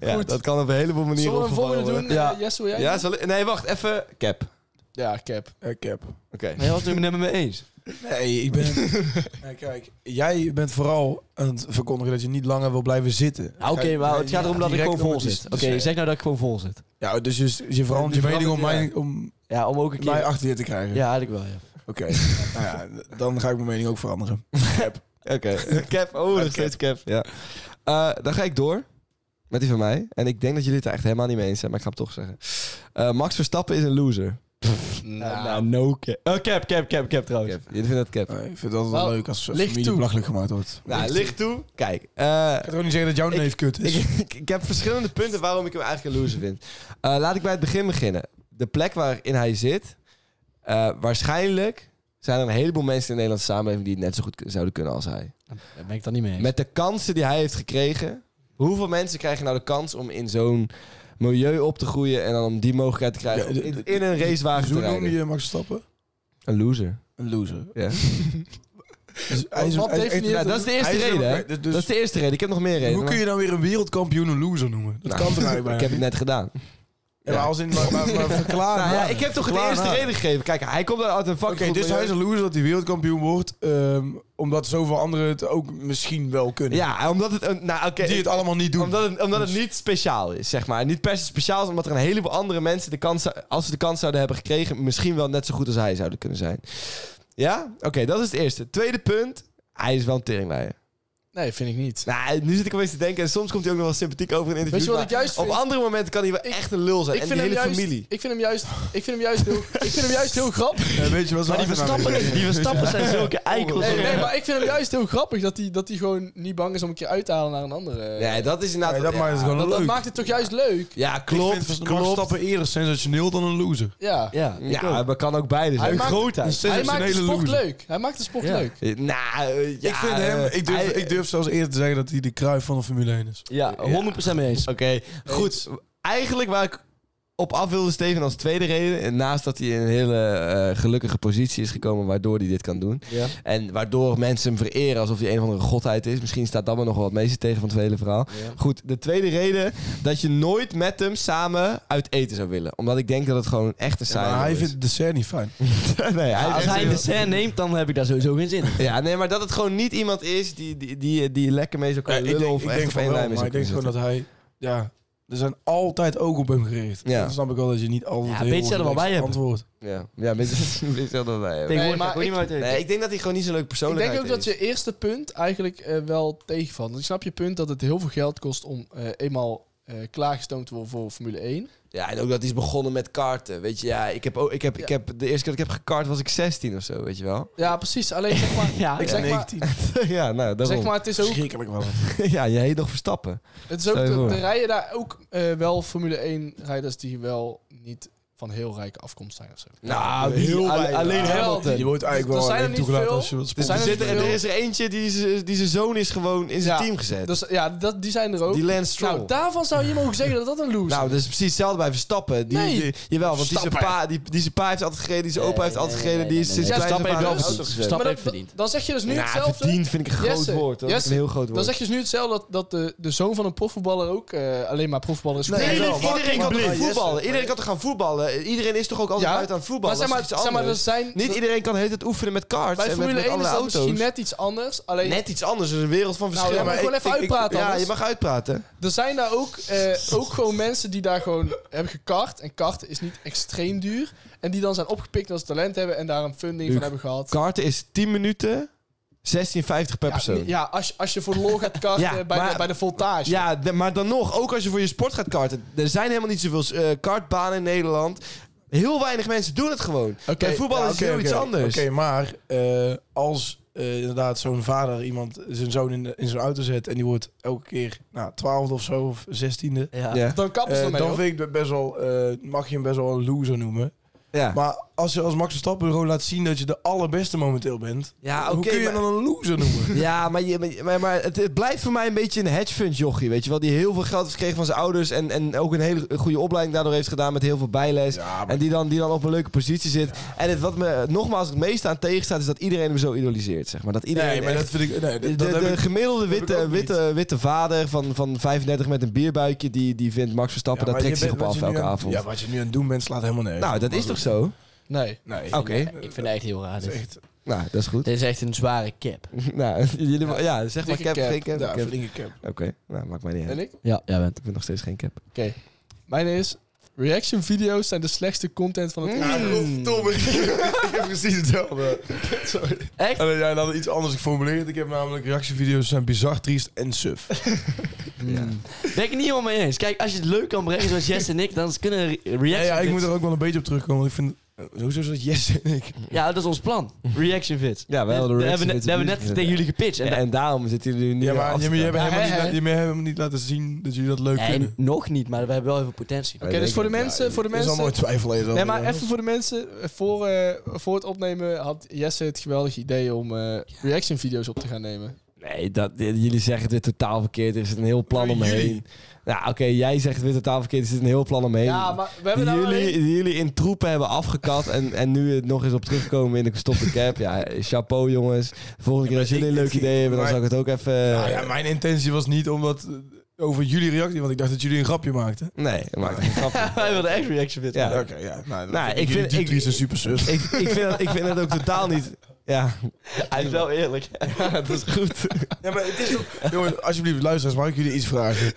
Speaker 3: Ja,
Speaker 5: Goed.
Speaker 3: dat kan op een heleboel manieren
Speaker 5: Zullen we een volgende
Speaker 3: opgevangen
Speaker 5: doen?
Speaker 3: worden.
Speaker 5: Ja.
Speaker 3: Ja.
Speaker 5: Jesse, wil jij?
Speaker 3: Ja, zal ik- nee, wacht, even. Cap. Oké.
Speaker 5: ja, cap.
Speaker 1: Eh, cap.
Speaker 4: Maar jij was het er met me eens.
Speaker 1: Nee, ik ben... Nee, kijk, jij bent vooral aan het verkondigen dat je niet langer wil blijven zitten.
Speaker 4: Ja, Oké,
Speaker 1: Kijk,
Speaker 4: maar
Speaker 1: nee,
Speaker 4: het gaat
Speaker 1: ja,
Speaker 4: erom dat ik
Speaker 1: direct
Speaker 4: gewoon vol
Speaker 1: om het
Speaker 4: zit. Oké,
Speaker 1: is- dus,
Speaker 4: zeg nou dat ik gewoon vol zit.
Speaker 1: Ja, dus je, je verandert je
Speaker 3: Die
Speaker 1: mening om,
Speaker 3: verandert,
Speaker 1: mijn, om
Speaker 4: Ja, om ook een
Speaker 1: mij
Speaker 4: keer...
Speaker 1: achter je te krijgen.
Speaker 4: Ja, eigenlijk wel, ja.
Speaker 1: Oké, nou ja, dan ga ik mijn mening ook veranderen.
Speaker 3: Oké. [LAUGHS] Cap. Oh, nog steeds cap. Ja. Eh, dan ga ik door. Met die van mij. En ik denk dat jullie het er echt helemaal niet mee eens zijn, maar ik ga het toch zeggen. Eh, Max Verstappen is een loser.
Speaker 5: Nou,
Speaker 4: no cap. Oh, cap, cap, cap, cap trouwens.
Speaker 3: Cap. Jullie vinden dat cap.
Speaker 1: Nee, Eh, ik vind het altijd
Speaker 5: Wel,
Speaker 1: wel leuk als
Speaker 5: licht
Speaker 1: familie
Speaker 5: toe.
Speaker 1: belachelijk gemaakt wordt.
Speaker 3: Nou, licht toe. Kijk. eh,
Speaker 1: Ik kan toch niet zeggen dat jouw
Speaker 3: Ik-
Speaker 1: neef kut is?
Speaker 3: ik, ik, ik heb verschillende punten waarom ik hem eigenlijk een loser vind. Eh, laat ik bij het begin beginnen. De plek waarin hij zit. eh, waarschijnlijk zijn er een heleboel mensen in de Nederlandse samenleving die het net zo goed k- zouden kunnen als hij.
Speaker 4: Daar ben ik dan niet mee eens.
Speaker 3: Met de kansen die hij heeft gekregen. Hoeveel mensen krijgen nou de kans om in zo'n milieu op te groeien en dan om die mogelijkheid te krijgen
Speaker 1: Ja,
Speaker 3: om
Speaker 1: de-
Speaker 3: in, in een racewagen
Speaker 1: Zo
Speaker 3: te
Speaker 1: noemde
Speaker 3: rijden.
Speaker 1: je Max Stappen?
Speaker 3: Een loser.
Speaker 1: Een loser.
Speaker 3: Ja.
Speaker 1: Dus hij is-
Speaker 5: wat
Speaker 1: hij is echt-
Speaker 5: definieert
Speaker 3: Ja, dat is de eerste
Speaker 1: Hij is-
Speaker 3: reden. hè?
Speaker 1: dus-
Speaker 3: dat is de eerste reden. Ik heb nog meer redenen.
Speaker 1: Hoe kun je dan weer een wereldkampioen een loser noemen? Dat
Speaker 3: maar-
Speaker 1: kan toch
Speaker 3: Nou,
Speaker 1: eigenlijk
Speaker 3: Ik
Speaker 1: bijna
Speaker 3: heb het net
Speaker 1: [LAUGHS]
Speaker 3: gedaan.
Speaker 1: niet? Ja, maar als in, maar, maar,
Speaker 3: [LAUGHS]
Speaker 1: maar verklaar
Speaker 3: Nou ja,
Speaker 1: maar.
Speaker 3: ik heb toch de
Speaker 1: Verklaar
Speaker 3: eerste
Speaker 1: maar.
Speaker 3: reden gegeven. Kijk, hij komt uit een
Speaker 1: Oké,
Speaker 3: fucking goed
Speaker 1: dus hij is
Speaker 3: milieu.
Speaker 1: een loser dat hij wereldkampioen wordt. ehm, omdat zoveel anderen het ook misschien wel kunnen.
Speaker 3: Ja, omdat het... een- Nou, oké.
Speaker 1: Die het allemaal niet doen.
Speaker 3: Omdat het, omdat het niet speciaal is, zeg maar. Niet per se speciaal is, omdat er een heleboel andere mensen... De kans, zou- als ze de kans zouden hebben gekregen... misschien wel net zo goed als hij zouden kunnen zijn. Ja? Oké, dat is het eerste. Tweede punt. Hij is wel een teringleier.
Speaker 5: Nee, vind ik niet.
Speaker 3: Nou, nu zit ik opeens te denken... en soms komt hij ook nog wel sympathiek over in interviews.
Speaker 5: Weet je wat
Speaker 3: maar
Speaker 5: ik juist
Speaker 3: Op
Speaker 5: vind?
Speaker 3: andere momenten kan hij wel
Speaker 5: Ik-
Speaker 3: echt een lul zijn.
Speaker 5: Ik
Speaker 3: en
Speaker 5: vind,
Speaker 3: die
Speaker 5: hem
Speaker 3: hele
Speaker 5: juist,
Speaker 3: familie.
Speaker 5: ik vind hem juist. Ik vind hem juist [LAUGHS] heel. ik vind hem juist heel grappig.
Speaker 1: Eh, weet je wat
Speaker 4: Maar die verstappen, die [LAUGHS] verstappen zijn zulke eikels.
Speaker 5: Nee, nee, maar ik vind hem juist heel grappig dat hij dat hij gewoon niet bang is om een keer uit te halen naar een andere.
Speaker 3: Nee, dat is inderdaad...
Speaker 1: Nee, dat maakt het gewoon
Speaker 5: dat,
Speaker 1: leuk.
Speaker 5: dat maakt het toch juist leuk.
Speaker 3: Ja,
Speaker 1: ik
Speaker 3: klopt.
Speaker 1: vind Max
Speaker 3: klopt.
Speaker 1: Verstappen eerder sensationeel dan een loser.
Speaker 5: Ja.
Speaker 4: Ja,
Speaker 3: Ja, maar kan ook beide zijn.
Speaker 5: Hij maakt-
Speaker 1: Een
Speaker 4: grootheid.
Speaker 5: Hij maakt de
Speaker 1: sensationele
Speaker 5: sport
Speaker 1: loser.
Speaker 5: leuk. Hij maakt de sport leuk.
Speaker 3: Eh, Nou, eh, ja,
Speaker 1: ik vind hem,
Speaker 3: eh,
Speaker 1: ik durf,
Speaker 3: hij-
Speaker 1: ik durf zelfs eerder te zeggen dat hij de kruif van de Formule 1 is.
Speaker 4: Ja, 100% mee eens.
Speaker 3: Oké, goed. Eigenlijk waar ik op af wilde, Steven, als tweede reden... en naast dat hij in een hele eh, gelukkige positie is gekomen waardoor hij dit kan doen...
Speaker 4: Ja.
Speaker 3: en waardoor mensen hem vereren alsof hij een van de godheid is... misschien staat dat maar nog wel wat meeste tegen van het hele verhaal. Goed, de tweede reden dat je nooit met hem samen uit eten zou willen. Omdat ik denk dat het gewoon echt een
Speaker 1: Maar
Speaker 3: saai
Speaker 1: hij
Speaker 3: is.
Speaker 1: vindt de dessert niet fijn.
Speaker 3: [LAUGHS] nee, hij
Speaker 4: Als hij de scène neemt, dan heb ik daar sowieso geen zin in.
Speaker 3: Ja, nee, maar dat het gewoon niet iemand is die, die, die, die lekker mee zou
Speaker 1: Ja,
Speaker 3: kunnen
Speaker 1: Eh, ik
Speaker 3: lullen
Speaker 1: denk,
Speaker 3: of
Speaker 1: ik denk
Speaker 3: echt op
Speaker 1: van
Speaker 3: één
Speaker 1: wel,
Speaker 3: lijn mee
Speaker 1: maar
Speaker 3: zou
Speaker 1: ik denk gewoon dat
Speaker 3: kunnen
Speaker 1: hij... Ja, er zijn altijd ogen op hem gericht.
Speaker 3: Ja.
Speaker 1: Dan snap ik wel dat je niet altijd
Speaker 4: Ja,
Speaker 1: heel
Speaker 4: weet je er wel bij
Speaker 1: relaxed
Speaker 4: hebben.
Speaker 1: antwoord.
Speaker 3: zitten. Ja, ja [LAUGHS] weet je- weet je wel dat wij hebben.
Speaker 4: Tegenwoordig
Speaker 5: maar
Speaker 4: ga ik ook niet meer uit eten.
Speaker 3: Nee, ik denk dat hij gewoon niet zo'n leuk
Speaker 5: Ik
Speaker 3: persoonlijkheid
Speaker 5: denk ook dat
Speaker 3: is.
Speaker 5: je eerste punt eigenlijk eh, wel tegenvalt. Want ik snap je punt dat het heel veel geld kost om eh, eenmaal eh, klaargestoomd te worden voor Formule 1.
Speaker 3: Ja, en ook dat hij is begonnen met karten. Weet je, ja, ik heb, ook, ik heb, ik heb de eerste keer dat ik heb gekart was ik 16 of zo, weet je
Speaker 5: [LAUGHS]
Speaker 3: wel.
Speaker 5: Ja, precies. Alleen zeg
Speaker 3: [LAUGHS]
Speaker 5: maar,
Speaker 4: Ja,
Speaker 5: ik zeg, maar,
Speaker 3: ja, nou, daarom.
Speaker 5: zeg maar het is ook,
Speaker 1: Schrikkelijk was het.
Speaker 3: ja, jij heet nog Verstappen.
Speaker 5: het is ook
Speaker 3: Stel je
Speaker 5: de,
Speaker 3: voor.
Speaker 5: de rijden daar ook eh, wel Formule 1 rijders die wel niet van heel rijke afkomst zijn of zo.
Speaker 3: Nou, heel
Speaker 4: alle- alleen
Speaker 3: alleen Hamilton.
Speaker 4: Hamilton.
Speaker 1: Je wordt eigenlijk
Speaker 5: Er
Speaker 1: wel
Speaker 5: zijn er
Speaker 1: alleen
Speaker 5: niet
Speaker 1: toegelaten
Speaker 5: veel.
Speaker 1: als je wilt
Speaker 3: Er,
Speaker 1: sporten.
Speaker 5: zijn er
Speaker 3: zit er,
Speaker 5: niet veel.
Speaker 3: er is er eentje die, z- die zijn zoon is gewoon in zijn
Speaker 5: Ja,
Speaker 3: team gezet.
Speaker 5: Dus ja, dat, die zijn er ook.
Speaker 3: die Nou, Lance Stroll.
Speaker 5: nou,
Speaker 3: Nou,
Speaker 5: daarvan zou je mogen zeggen dat dat een loser
Speaker 3: dat is precies hetzelfde bij Verstappen. Die,
Speaker 5: Nee.
Speaker 3: die- jawel, want die zijn,
Speaker 5: Verstappen.
Speaker 3: pa, die, die zijn pa heeft altijd gereden, die zijn
Speaker 4: Nee,
Speaker 3: opa heeft
Speaker 4: nee,
Speaker 3: altijd
Speaker 4: nee,
Speaker 3: gereden. Die
Speaker 4: nee,
Speaker 3: is
Speaker 4: nee,
Speaker 5: dus
Speaker 3: sinds
Speaker 4: nee.
Speaker 3: kleins
Speaker 4: Verstappen
Speaker 3: af
Speaker 4: heeft
Speaker 3: aan
Speaker 4: wel
Speaker 3: auto
Speaker 4: verdiend.
Speaker 3: gezet.
Speaker 4: Verstappen
Speaker 5: Maar
Speaker 4: heeft verdiend.
Speaker 5: Dan zeg je dus nu
Speaker 3: Nou,
Speaker 5: hetzelfde.
Speaker 3: verdiend vind ik een groot
Speaker 5: Jesse,
Speaker 3: woord. hoor. Dat is
Speaker 5: Jesse,
Speaker 3: een heel groot woord.
Speaker 5: Dan zeg je dus nu hetzelfde dat, dat de, de zoon van een profvoetballer ook eh, alleen maar profvoetballer is.
Speaker 3: Nee,
Speaker 5: geworden.
Speaker 3: iedereen-
Speaker 5: Wel,
Speaker 1: wacht,
Speaker 3: iedereen kan
Speaker 1: wacht,
Speaker 3: toch gaan
Speaker 1: wacht, Jesse.
Speaker 3: voetballen? Iedereen kan toch gaan voetballen? Iedereen is toch ook altijd
Speaker 5: Ja,
Speaker 3: buiten aan het
Speaker 5: maar
Speaker 3: voetballen?
Speaker 5: zeg maar,
Speaker 3: Dat is iets
Speaker 5: zeg maar er
Speaker 3: anders.
Speaker 5: zijn,
Speaker 3: Niet iedereen kan heet het oefenen met karts
Speaker 5: bij
Speaker 3: en met,
Speaker 5: Formule
Speaker 3: met
Speaker 5: 1 is
Speaker 3: andere
Speaker 5: dat misschien
Speaker 3: auto's.
Speaker 5: net iets anders. Alleen,
Speaker 3: Net iets anders, er is een wereld van
Speaker 4: Nou,
Speaker 3: verschil.
Speaker 5: ja, maar
Speaker 3: Maar
Speaker 5: gewoon
Speaker 3: ik-
Speaker 5: even
Speaker 3: ik- ik-
Speaker 5: uitpraten
Speaker 3: Ja,
Speaker 5: anders.
Speaker 3: je mag uitpraten.
Speaker 5: er zijn daar ook, eh, ook gewoon mensen die daar gewoon hebben gekart. En karten is niet extreem duur. En die dan zijn opgepikt als talent hebben en daar een funding
Speaker 3: Luc,
Speaker 5: van hebben gehad.
Speaker 3: Karten is 10 minuten, 16,50 per
Speaker 5: Ja,
Speaker 3: persoon. Ja,
Speaker 5: ja als, je- als je voor de lol gaat karten
Speaker 3: Ja,
Speaker 5: bij,
Speaker 3: maar-
Speaker 5: de, bij de voltage.
Speaker 3: de- maar dan nog, ook als je voor je sport gaat karten. Er zijn helemaal niet zoveel eh, kartbanen in Nederland. Heel weinig mensen doen het gewoon.
Speaker 5: Oké,
Speaker 3: Bij voetbal
Speaker 1: Ja,
Speaker 3: is het
Speaker 1: oké,
Speaker 3: heel
Speaker 1: oké.
Speaker 3: iets anders.
Speaker 1: Oké, maar eh, als eh, inderdaad zo'n vader iemand zijn zoon in, de- in zijn auto zet en die wordt elke keer nou, 12 of zo of 16e.
Speaker 4: Ja.
Speaker 3: Ja.
Speaker 5: Dan kappen ze
Speaker 1: eh,
Speaker 5: ermee.
Speaker 1: dan
Speaker 5: hoor.
Speaker 1: vind ik het best wel, eh, mag je hem best wel een loser noemen.
Speaker 3: Ja.
Speaker 1: Maar als je als Max Verstappen gewoon laat zien dat je de allerbeste momenteel bent,
Speaker 3: Ja,
Speaker 1: hoe
Speaker 3: oké,
Speaker 1: kun je
Speaker 3: maar-
Speaker 1: hem dan een loser
Speaker 3: [LAUGHS]
Speaker 1: noemen?
Speaker 3: Ja, maar, je- maar- maar, maar het, het blijft voor mij een beetje een hedge fund jochie, weet je wel. Die heel veel geld heeft gekregen van zijn ouders en, en ook een hele goede opleiding daardoor heeft gedaan met heel veel bijles. En die dan, die dan op een leuke positie zit. En het, wat me nogmaals het meeste aan tegenstaat is dat iedereen hem zo idoliseert, zeg maar. Dat iedereen
Speaker 1: nee, maar
Speaker 3: echt-
Speaker 1: dat vind ik. Nee,
Speaker 3: de,
Speaker 1: dat
Speaker 3: de-
Speaker 1: heb
Speaker 3: de
Speaker 1: ik-
Speaker 3: gemiddelde
Speaker 1: heb ik ook
Speaker 3: witte,
Speaker 1: niet.
Speaker 3: witte, witte vader van, van 35 met een bierbuikje, die, die vindt Max Verstappen,
Speaker 1: Ja,
Speaker 3: daar
Speaker 1: maar
Speaker 3: trekt
Speaker 1: je
Speaker 3: zich op
Speaker 1: bent- wat
Speaker 3: af
Speaker 1: je nu
Speaker 3: elke
Speaker 1: aan-
Speaker 3: avond.
Speaker 1: Ja, wat je nu aan het doen bent, slaat helemaal nergens.
Speaker 3: nou, dat
Speaker 1: op.
Speaker 3: is toch zo?
Speaker 5: Nee.
Speaker 1: Nee.
Speaker 3: Oké.
Speaker 4: Ik vind het echt heel raar.
Speaker 1: Dat
Speaker 4: Dit.
Speaker 1: is echt.
Speaker 3: Nou, dat is goed.
Speaker 4: Dit is echt een zware cap.
Speaker 3: [LAUGHS] nou, jullie, ja. zeg maar
Speaker 5: Dikke
Speaker 3: cap,
Speaker 5: cap.
Speaker 3: geen cap.
Speaker 1: Ja,
Speaker 3: cap.
Speaker 1: flinke cap.
Speaker 3: Oké, nou, maakt mij niet uit.
Speaker 5: En ik?
Speaker 4: Ja, jij bent.
Speaker 3: Ik vind nog steeds geen cap.
Speaker 5: Oké. Mijn is... Reaction video's zijn de slechtste content van het
Speaker 1: Mm.
Speaker 3: Hmm.
Speaker 1: Nou, Godverdomme. [LAUGHS] ik heb precies hetzelfde. Sorry.
Speaker 4: Echt?
Speaker 1: Alleen jij had het iets anders geformuleerd. Ik heb namelijk reactievideo's zijn bizar, triest en suf.
Speaker 4: Hmm. Ben ik het niet helemaal mee eens. Kijk, als je het leuk kan brengen zoals Jess en ik, dan kunnen re- reaction
Speaker 1: Ja, ja, ik
Speaker 4: vids-
Speaker 1: moet er ook wel een beetje op terugkomen. Want ik vind... eh, Hoezo is dat Jesse en ik?
Speaker 4: Ja, dat is ons plan. Reaction fits.
Speaker 3: Ja, we hadden
Speaker 4: we
Speaker 3: reaction
Speaker 4: hebben,
Speaker 3: fits
Speaker 4: net- we hebben
Speaker 3: op
Speaker 4: net
Speaker 3: YouTube.
Speaker 4: tegen jullie gepitcht. En
Speaker 3: En,
Speaker 4: da-
Speaker 3: en daarom zitten jullie nu
Speaker 1: Ja, maar
Speaker 3: aan
Speaker 1: je, je hebt
Speaker 3: afstand.
Speaker 1: helemaal,
Speaker 5: Ja,
Speaker 1: niet,
Speaker 5: hè,
Speaker 1: la- je hebt helemaal niet laten zien dat jullie dat leuk
Speaker 4: Nee,
Speaker 1: vinden.
Speaker 4: nog niet, maar we hebben wel even potentie.
Speaker 5: Oké, dus voor de mensen... Voor de
Speaker 1: Er is allemaal
Speaker 5: mensen
Speaker 1: twijfel even
Speaker 5: nee,
Speaker 1: over.
Speaker 5: maar even voor de mensen. eh, Voor, eh, voor het opnemen had Jesse het geweldige idee om eh, reaction video's op te gaan nemen.
Speaker 3: Nee, dat, jullie zeggen het weer totaal verkeerd. Er zit een heel plan omheen. Nou, oké, jij zegt het weer totaal verkeerd. Er zit een heel plan omheen.
Speaker 5: Ja, maar we hebben
Speaker 3: die,
Speaker 5: nou
Speaker 3: jullie,
Speaker 5: alleen-
Speaker 3: die jullie in troepen hebben afgekat en, en nu het nog eens op terugkomen in de gestopte cap. Ja, chapeau jongens. De volgende keer als jullie een leuk idee hebben, dan
Speaker 1: maar-
Speaker 3: zou ik het ook even...
Speaker 1: Nou ja, mijn intentie was niet omdat eh, over jullie reactie, want ik dacht dat jullie een grapje maakten.
Speaker 3: Nee, dat maakt geen grapje.
Speaker 4: [LAUGHS] Wij wilden echt reaction fit.
Speaker 3: Ja.
Speaker 1: Oké, ja. Nou,
Speaker 3: Nou, ik vind- ik-
Speaker 1: die is een super zus.
Speaker 5: [LAUGHS]
Speaker 3: ik, ik, vind dat, ik vind dat ook totaal niet... Ja,
Speaker 4: Hij is wel
Speaker 3: [LAUGHS]
Speaker 4: eerlijk.
Speaker 3: dat is goed.
Speaker 1: Ja, maar het is toch... Jongens, alsjeblieft, luisteraars, mag ik jullie iets vragen?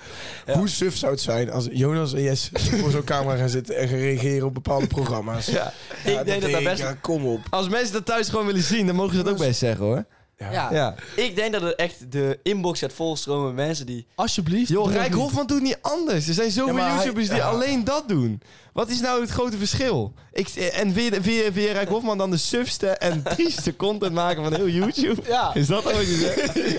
Speaker 1: Hoe suf zou het zijn als Jonas en Jess voor zo'n camera gaan zitten en gaan reageren op bepaalde programma's? Ja,
Speaker 4: ik denk dat dat
Speaker 1: ik,
Speaker 4: best...
Speaker 1: Ja, kom op.
Speaker 3: Als mensen dat thuis gewoon willen zien, dan mogen ze dat ook best zeggen hoor.
Speaker 4: Ja.
Speaker 3: Ja.
Speaker 4: Ik denk dat het echt de inbox gaat volstromen met mensen die...
Speaker 5: Alsjeblieft.
Speaker 3: Joh,
Speaker 5: doe dat
Speaker 3: Rijk
Speaker 5: niet.
Speaker 3: Hofman doet niet anders. Er zijn zoveel
Speaker 1: Ja, maar hij-
Speaker 3: YouTubers die
Speaker 1: ja.
Speaker 3: alleen dat doen. Wat is nou het grote verschil? Ik, en vind je, vind je- vind je Rijk Hofman dan de sufste en trieste content maken van heel YouTube?
Speaker 5: Ja.
Speaker 3: Is dat dan wat je zegt?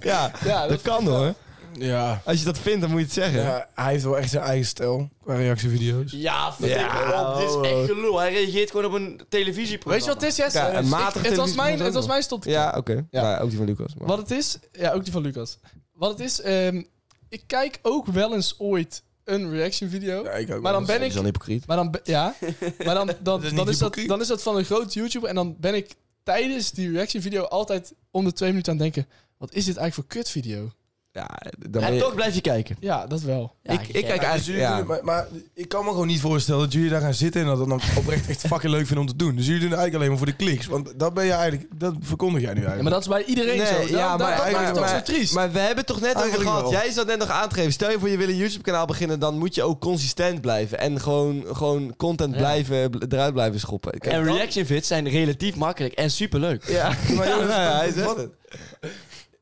Speaker 3: Ja, ja, dat, kan hoor.
Speaker 1: Ja.
Speaker 3: Als je dat vindt, dan moet je het zeggen.
Speaker 1: Ja, hij heeft wel echt zijn eigen stijl qua reactievideo's.
Speaker 4: Ja,
Speaker 3: Ja,
Speaker 4: Dit is echt gelul. Hij reageert gewoon op een televisieprogramma.
Speaker 5: Weet je wat het is, Jess?
Speaker 3: Ja, een
Speaker 5: Ik-
Speaker 3: matige
Speaker 5: het, was
Speaker 3: televisie
Speaker 5: mijn,
Speaker 3: moet ook
Speaker 5: het was
Speaker 3: nog.
Speaker 5: mijn stopte
Speaker 3: Ja, oké.
Speaker 5: Ja.
Speaker 3: Nou, ook die van Lucas. maar-
Speaker 5: Wat het is, ja, ook die van Lucas. Wat het is, ehm, ik kijk ook wel eens ooit een reaction video.
Speaker 1: Ja, ik ook
Speaker 5: maar
Speaker 1: wel
Speaker 5: dan ben
Speaker 3: Dat is
Speaker 5: ik.
Speaker 3: dan hypocriet.
Speaker 5: Maar dan, be- ja,
Speaker 3: [LAUGHS]
Speaker 5: maar dan, dan,
Speaker 1: is niet
Speaker 5: dan, is dat,
Speaker 1: hypocriet.
Speaker 5: dan is dat van een groot YouTuber. En dan ben ik tijdens die reaction video altijd om de twee minuten aan het denken. Wat is dit eigenlijk voor kut video?
Speaker 3: Ja, dan ben
Speaker 4: En
Speaker 3: je-
Speaker 4: toch blijf je kijken.
Speaker 5: Ja, dat wel.
Speaker 3: ik, ik kijk
Speaker 1: Ja, dus jullie
Speaker 3: eigenlijk... Ja.
Speaker 1: doen het, maar, maar ik kan me gewoon niet voorstellen dat jullie daar gaan zitten en dat het dan oprecht echt fucking leuk vinden om te doen. Dus jullie doen het eigenlijk alleen maar voor de kliks. Want dat ben je eigenlijk, dat verkondig jij nu
Speaker 5: Ja,
Speaker 1: eigenlijk.
Speaker 5: maar dat is bij iedereen
Speaker 3: Nee,
Speaker 5: zo. Daarom-
Speaker 3: ja,
Speaker 5: daarom-
Speaker 3: maar,
Speaker 5: dat maakt
Speaker 3: maar,
Speaker 5: het ook
Speaker 3: maar-
Speaker 5: zo triest.
Speaker 3: maar we hebben het toch net over
Speaker 1: Eigenlijk
Speaker 3: gehad.
Speaker 1: wel.
Speaker 3: Jij zat net nog aan te geven. Stel je voor, je wil een YouTube-kanaal beginnen, dan moet je ook consistent blijven. En gewoon, gewoon content blijven, bl- eruit blijven schoppen. Kijk,
Speaker 4: En
Speaker 3: dat-
Speaker 4: reaction fits zijn relatief makkelijk en superleuk.
Speaker 3: Ja,
Speaker 1: [LAUGHS]
Speaker 3: maar jongens, ja, hij zegt
Speaker 1: wat-
Speaker 3: het.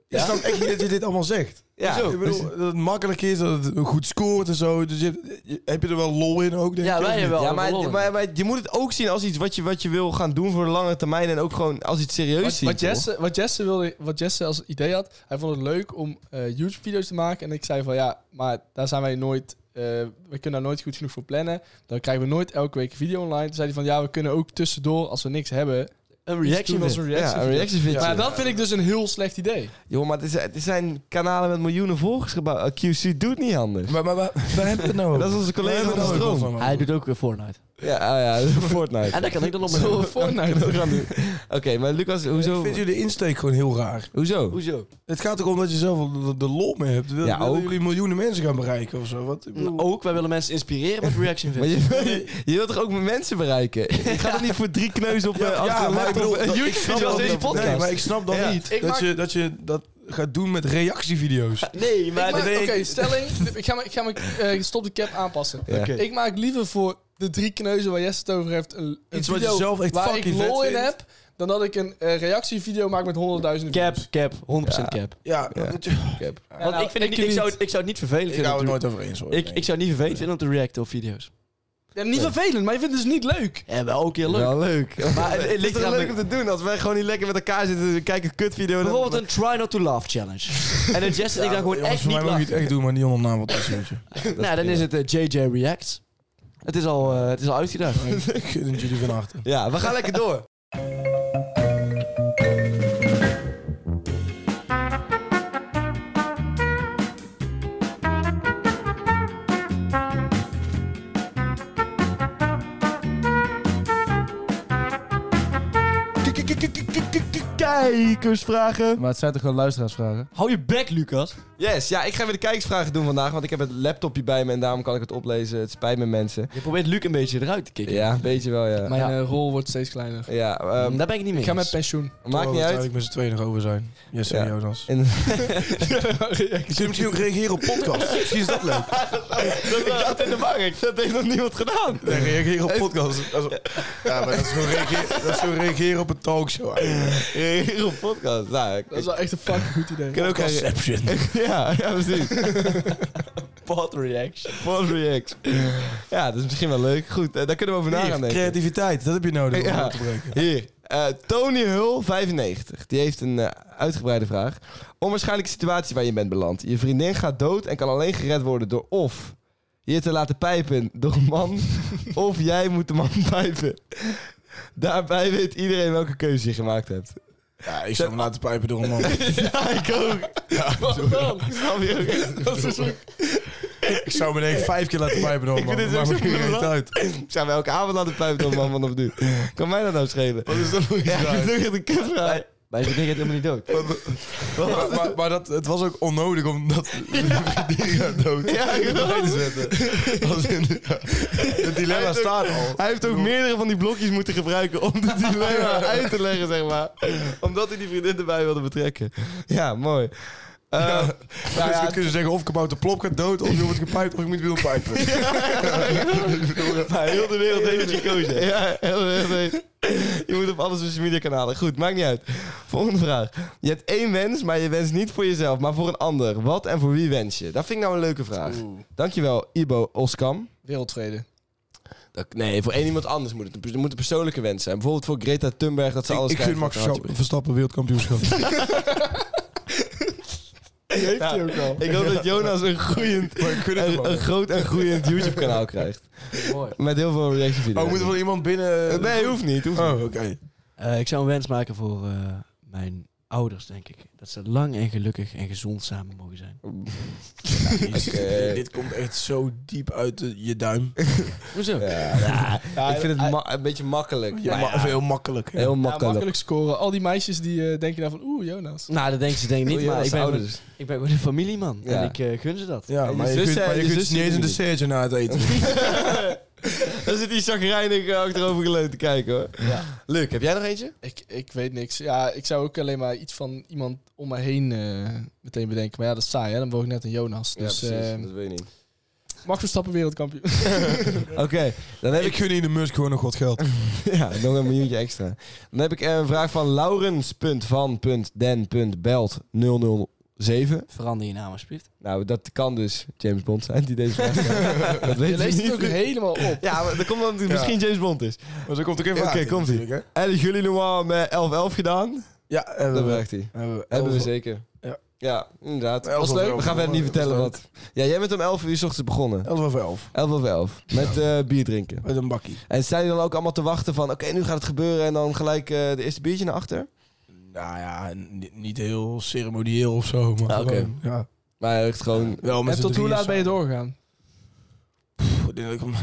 Speaker 1: Ik snap echt niet dat je dit allemaal zegt.
Speaker 3: Ja.
Speaker 1: Ik bedoel, dat het makkelijk is, dat het goed scoort en zo. Dus je, hebt- je- heb je er wel lol in ook, denk
Speaker 4: Ja,
Speaker 1: ik?
Speaker 4: wij
Speaker 1: of niet?
Speaker 4: hebben wel.
Speaker 3: Ja, maar,
Speaker 4: Rollen.
Speaker 3: maar, maar je moet het ook zien als iets wat je, wat je wil gaan doen voor de lange termijn. En ook gewoon als iets serieus
Speaker 5: Wat,
Speaker 3: zien.
Speaker 5: wat, Jesse, wat, Jesse wilde, wat Jesse als idee had, hij vond het leuk om eh, YouTube-video's te maken. En ik zei van ja, maar daar zijn wij nooit, eh, we kunnen daar nooit goed genoeg voor plannen. Dan krijgen we nooit elke week een video online. Toen zei hij van ja, we kunnen ook tussendoor, als we niks hebben,
Speaker 4: een
Speaker 5: iets doen
Speaker 4: reaction
Speaker 5: als
Speaker 4: fit.
Speaker 5: een
Speaker 3: toch?
Speaker 5: reaction.
Speaker 3: Ja, een
Speaker 5: video.
Speaker 3: reaction video.
Speaker 5: maar dat vind ik dus een heel slecht idee.
Speaker 3: Joh, maar het, is, het zijn kanalen met miljoenen volgers gebouwd. QC doet niet anders.
Speaker 1: Maar, maar, maar waar hebben we het nou over?
Speaker 3: Dat is onze collega
Speaker 1: Waar hebben
Speaker 3: van
Speaker 1: we het
Speaker 3: de
Speaker 1: nou
Speaker 3: Stroom.
Speaker 1: over?
Speaker 4: Hij doet ook weer Fortnite.
Speaker 3: Ja, ah ja, [LAUGHS] Fortnite.
Speaker 4: En daar kan ik dan op mijn [LAUGHS]
Speaker 5: Zo,
Speaker 3: Dat
Speaker 5: Fortnite.
Speaker 3: kan niet. Oké, maar Lucas, hoezo?
Speaker 1: Ik vind jullie insteek gewoon heel raar.
Speaker 3: Hoezo?
Speaker 4: Hoezo?
Speaker 1: Het gaat ook om dat je zelf wel de, de lol mee hebt. Wil,
Speaker 3: Ja,
Speaker 1: willen
Speaker 3: ook.
Speaker 1: jullie miljoenen mensen gaan bereiken of zo? Wat, ik bedoel-
Speaker 4: Nou, Ook, wij willen mensen inspireren met reaction
Speaker 3: Maar
Speaker 4: fits.
Speaker 3: je, [LAUGHS] je wilt toch ook met mensen bereiken? Ik ga toch niet voor drie kneus op eh, achter
Speaker 1: ja,
Speaker 3: een
Speaker 1: maar ik
Speaker 3: laptop
Speaker 1: bedoel,
Speaker 3: een
Speaker 1: dat-
Speaker 3: [LAUGHS] YouTube video als deze podcast.
Speaker 1: Nee, maar ik snap dan
Speaker 3: Ja.
Speaker 1: niet
Speaker 5: Ik
Speaker 1: dat,
Speaker 5: maak-
Speaker 1: je, dat je dat gaat doen met reactievideo's.
Speaker 4: Nee, maar...
Speaker 5: Ik maak-
Speaker 4: dat-
Speaker 5: Oké, stelling. Ik ga mijn- ik ga mijn eh, stop de cap aanpassen.
Speaker 3: Ja.
Speaker 4: Oké.
Speaker 5: Ik maak liever voor de drie kneuzen waar Jesse het over heeft een, een
Speaker 1: Iets wat je
Speaker 5: video
Speaker 1: zelf echt
Speaker 5: waar ik
Speaker 1: fucking
Speaker 5: lol
Speaker 1: vet
Speaker 5: in
Speaker 1: vindt.
Speaker 5: heb, dan dat ik een eh, reactievideo maak met honderdduizenden
Speaker 4: Cap,
Speaker 5: views.
Speaker 4: cap. 100% cap.
Speaker 1: Ja,
Speaker 3: Ja.
Speaker 1: dat je-
Speaker 4: Want ik, vind het niet, ik, zou, het- ik zou het niet vervelend
Speaker 1: ik
Speaker 4: vinden.
Speaker 1: hou
Speaker 4: om
Speaker 1: het
Speaker 4: te-
Speaker 1: nooit over eens hoor.
Speaker 4: ik, ik zou het niet vervelend vinden om te reacten op video's.
Speaker 5: Ja, niet vervelend, maar je vindt het dus niet leuk.
Speaker 4: Ja, wel ook heel leuk.
Speaker 3: Wel leuk.
Speaker 4: Maar het- het
Speaker 3: het is
Speaker 4: ligt
Speaker 3: toch
Speaker 4: eraan
Speaker 3: leuk om
Speaker 4: met-
Speaker 3: te doen als wij gewoon niet lekker met elkaar zitten en kijken een kutvideo. dan-
Speaker 4: Bijvoorbeeld een try not to laugh challenge. en dat Jess en ik dan gewoon
Speaker 1: Jongens,
Speaker 4: echt
Speaker 1: voor
Speaker 4: niet
Speaker 1: mij mag je het
Speaker 4: lachen.
Speaker 1: echt doen, maar niet onder naam wat dat is.
Speaker 4: Nou, dan is het eh, JJ Reacts. Het is al, eh, het is al
Speaker 1: [LAUGHS]
Speaker 4: uitgedaagd.
Speaker 1: Ik gun het jullie van harte.
Speaker 3: Ja, we gaan lekker door. Kijkersvragen.
Speaker 7: Maar het zijn toch gewoon luisteraarsvragen?
Speaker 4: Hou je bek, Lucas.
Speaker 3: Yes, ja, ik ga weer de kijkersvragen doen vandaag, want ik heb het laptopje bij me en daarom kan ik het oplezen. Het spijt me, mensen.
Speaker 4: Je probeert Luc een beetje eruit te kicken.
Speaker 3: Ja, een beetje wel, ja.
Speaker 5: Mijn
Speaker 4: ja. eh,
Speaker 5: eh, rol wordt steeds kleiner.
Speaker 3: Ja, ehm,
Speaker 4: Daar ben ik niet mee.
Speaker 5: Ik ga met
Speaker 4: eens.
Speaker 5: pensioen.
Speaker 3: maakt niet uit.
Speaker 1: Ik met z'n tweeën nog over zijn. Yes,
Speaker 3: Ja.
Speaker 1: en Jonas.
Speaker 3: [LAUGHS] En-
Speaker 1: Je kunt misschien ook reageren op podcast. Misschien is dat leuk.
Speaker 3: ik zat in de markt.
Speaker 4: [LAUGHS]
Speaker 3: Dat heeft nog niemand gedaan.
Speaker 1: Nee, reageren op podcast. Dat is- Ja, maar dat is gewoon reageren, dat is gewoon reageren op een talkshow.
Speaker 3: Reageer op podcast. Nou, ik,
Speaker 5: Dat is wel echt een fucking goed [LAUGHS] idee.
Speaker 3: ik kan ook reageren.
Speaker 1: Reception.
Speaker 3: [LAUGHS] Ja, ja, precies.
Speaker 4: Pod Reacts.
Speaker 3: Pod reacts. Ja, dat is misschien wel leuk. Goed, eh, daar kunnen we over na gaan denken.
Speaker 1: creativiteit, dat heb je nodig om
Speaker 3: Ja.
Speaker 1: door te breken.
Speaker 3: Hier. eh, Tony Hul, 95. Die heeft een eh, uitgebreide vraag. Onwaarschijnlijke situatie waar je bent beland. Je vriendin gaat dood en kan alleen gered worden door of je te laten pijpen door een
Speaker 1: [LAUGHS]
Speaker 3: man, of jij moet de man pijpen. Daarbij weet iedereen welke keuze je gemaakt hebt. [LAUGHS]
Speaker 1: Ja, ik zou hem laten pijpen door een man.
Speaker 4: Ja, ik ook.
Speaker 1: [LAUGHS] ik zou me denk ik vijf keer laten pijpen door een
Speaker 3: Ik
Speaker 1: man.
Speaker 3: vind dit
Speaker 1: Maar
Speaker 3: ook
Speaker 1: me
Speaker 3: zo
Speaker 1: geen reet
Speaker 3: belachelijk.
Speaker 1: uit.
Speaker 3: Zijn we elke avond aan de pijp door man vanaf nu? Kan mij dat nou schelen?
Speaker 1: Wat is dat voor iets
Speaker 3: Ja, ik
Speaker 1: raar?
Speaker 3: vind het echt een kutvraag.
Speaker 4: Bij zijn gaat helemaal niet dood.
Speaker 1: Maar, maar, maar dat, het was ook onnodig om dat vriendin dood
Speaker 3: Ja,
Speaker 1: erbij te zetten. Als in- ja. Het dilemma
Speaker 3: Hij heeft ook-
Speaker 1: staat al.
Speaker 3: Hij heeft ook meerdere van die blokjes moeten gebruiken om het dilemma uit te leggen, zeg maar. Omdat hij die vriendin erbij wilde betrekken. Ja, mooi. Eh,
Speaker 1: Dus we kunnen zeggen of kabouter plop gaat dood, of je wordt gepijpt, of je moet weer pijpen.
Speaker 3: maar heel de wereld heeft het gekozen. Ja, heel de wereld heeft. Je moet op alle social media kanalen. Goed, maakt niet uit. Volgende vraag. Je hebt één wens, maar je wenst niet voor jezelf, maar voor een ander. Wat en voor wie wens je? Dat vind ik nou een leuke vraag. Dankjewel, Ibo Oskam.
Speaker 5: Wereldvrede.
Speaker 3: Dat- Nee, voor één iemand anders moet het. een pers- Het moet een persoonlijke wens zijn. Bijvoorbeeld voor Greta Thunberg dat ze
Speaker 1: Ik,
Speaker 3: alles
Speaker 1: ik gun
Speaker 3: krijgt
Speaker 1: Max
Speaker 3: wat ze had.
Speaker 1: Verstappen wereldkampioenschap.
Speaker 5: heeft
Speaker 3: Ja.
Speaker 5: hij ook al.
Speaker 3: Ik hoop dat Jonas een, groeiend,
Speaker 1: Maar ik gun het hem
Speaker 3: een,
Speaker 1: ook.
Speaker 3: een groot en groeiend YouTube-kanaal krijgt. Met heel veel reaction
Speaker 1: Oh,
Speaker 3: video's.
Speaker 1: moet er wel iemand binnen...
Speaker 3: Eh, Nee, hoeft niet. Hoeft
Speaker 1: Oh,
Speaker 3: niet.
Speaker 1: oké.
Speaker 4: Eh, ik zou een wens maken voor eh, mijn ouders, denk ik. Dat ze lang en gelukkig en gezond samen mogen zijn.
Speaker 3: Oké.
Speaker 1: [LAUGHS] Dit komt echt zo diep uit de- je duim.
Speaker 4: Hoezo?
Speaker 3: Ja, ik vind het
Speaker 5: hij-
Speaker 3: ma- een beetje makkelijk.
Speaker 1: Ja,
Speaker 3: Maar
Speaker 1: ma-
Speaker 3: ja,
Speaker 1: Of heel makkelijk. hè.
Speaker 3: heel
Speaker 5: Ja,
Speaker 3: makkelijk.
Speaker 5: makkelijk scoren. Al die meisjes die eh, denken daarvan, oeh, Jonas.
Speaker 4: Nou, dat denken ze denk ik niet,
Speaker 3: Goeie
Speaker 4: maar ik ben, gewoon-
Speaker 3: ouders. [LAUGHS]
Speaker 4: ik ben gewoon een familieman.
Speaker 3: Ja.
Speaker 4: En ik eh, gun ze dat.
Speaker 1: Ja,
Speaker 3: je
Speaker 1: maar je,
Speaker 3: zus
Speaker 1: kunt,
Speaker 3: zei-
Speaker 1: maar je
Speaker 3: je
Speaker 1: kunt
Speaker 3: zus
Speaker 1: niet eens een
Speaker 3: doet
Speaker 1: dessertje na het [LAUGHS] eten.
Speaker 3: Dan zit die chagrijnig achterover geleund te kijken hoor. Luc, heb jij nog eentje?
Speaker 5: Ik, ik weet niks. Ja, ik zou ook alleen maar iets van iemand om me heen eh, meteen bedenken. Maar ja, dat is saai, hè? Dan word ik net een Jonas. Dus eh
Speaker 3: dat weet je niet.
Speaker 5: Max Verstappen wereldkampioen.
Speaker 3: Oké, dan heb
Speaker 1: Ik
Speaker 3: ik... [LAUGHS]
Speaker 1: gun Elon Musk gewoon nog wat [LAUGHS] geld.
Speaker 3: Ja, nog een miljoentje extra. Dan heb ik eh, een vraag van laurens.van.den.belt007.
Speaker 4: Verander je naam alsjeblieft.
Speaker 3: Nou, dat kan dus James Bond zijn die deze vraag stelt. Dat
Speaker 5: Je
Speaker 3: weet ik
Speaker 5: leest het ook
Speaker 3: niet.
Speaker 5: helemaal op.
Speaker 3: Ja, maar dat komt omdat het
Speaker 1: Ja.
Speaker 3: misschien James Bond is.
Speaker 1: Maar zo komt ook even
Speaker 3: Oké,
Speaker 1: uit,
Speaker 3: komt-ie.
Speaker 1: natuurlijk, hè.
Speaker 3: En jullie normaal met 11-11 gedaan.
Speaker 1: Ja,
Speaker 3: Dat
Speaker 1: hebben we.
Speaker 3: werkt hij.
Speaker 1: Hebben we.
Speaker 3: Hebben we
Speaker 1: Elf-
Speaker 3: zeker.
Speaker 1: Ja.
Speaker 3: Ja, inderdaad.
Speaker 1: Elf
Speaker 3: Was
Speaker 1: over
Speaker 3: leuk.
Speaker 1: elf.
Speaker 3: We gaan verder niet
Speaker 1: Was
Speaker 3: vertellen
Speaker 1: leuk.
Speaker 3: wat. Ja, jij bent om 11 uur 's ochtends begonnen.
Speaker 1: Elf over elf.
Speaker 3: 11 over 11. Met eh, bier drinken.
Speaker 1: Met een bakkie.
Speaker 3: En zijn jullie dan ook allemaal te wachten van... Oké, nu gaat het gebeuren. En dan gelijk eh, de eerste biertje naar achter.
Speaker 1: Nou ja, ni- niet heel ceremonieel of zo, maar
Speaker 3: Ah, oké.
Speaker 1: gewoon, ja.
Speaker 3: Maar echt gewoon...
Speaker 1: Wel met
Speaker 5: En tot hoe laat ben je doorgegaan?
Speaker 1: door? Ik denk dat ik om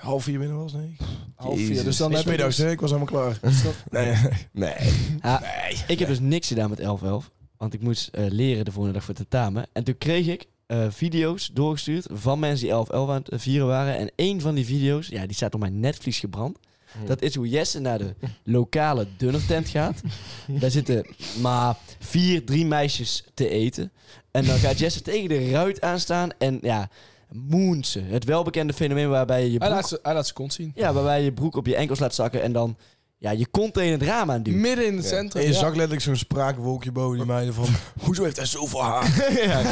Speaker 1: half vier binnen was, nee.
Speaker 5: Half vier.
Speaker 3: Jezus.
Speaker 5: Dus dan
Speaker 1: Dan
Speaker 5: heb je
Speaker 1: middags,
Speaker 5: dus,
Speaker 1: hè? Ik was helemaal klaar.
Speaker 5: dus dat-
Speaker 1: [LAUGHS] Nee,
Speaker 3: Nee.
Speaker 4: Ik heb dus niks gedaan met 1111. Want ik moest eh, leren de volgende dag voor het tentamen. En toen kreeg ik eh, video's doorgestuurd van mensen die 1111 aan het eh, vieren waren. En één van die video's, ja, die staat op mijn netvlies gebrand. Dat is hoe Jesse naar de lokale dunnertent gaat. Daar zitten maar vier, drie meisjes te eten. En dan gaat Jesse tegen de ruit aanstaan. En ja, moonsen. Het welbekende fenomeen waarbij je je
Speaker 5: hij,
Speaker 4: broek,
Speaker 5: Ah, laat ze, hij laat ze kont zien.
Speaker 4: ja, waarbij je je broek op je enkels laat zakken. En dan ja, je kont tegen het raam aanduwt.
Speaker 5: Midden in het
Speaker 3: Ja.
Speaker 1: en
Speaker 5: centrum.
Speaker 1: je
Speaker 5: ja.
Speaker 1: zag letterlijk zo'n spraakwolkje boven die meiden van... Hoezo heeft hij zoveel haar?
Speaker 3: ja,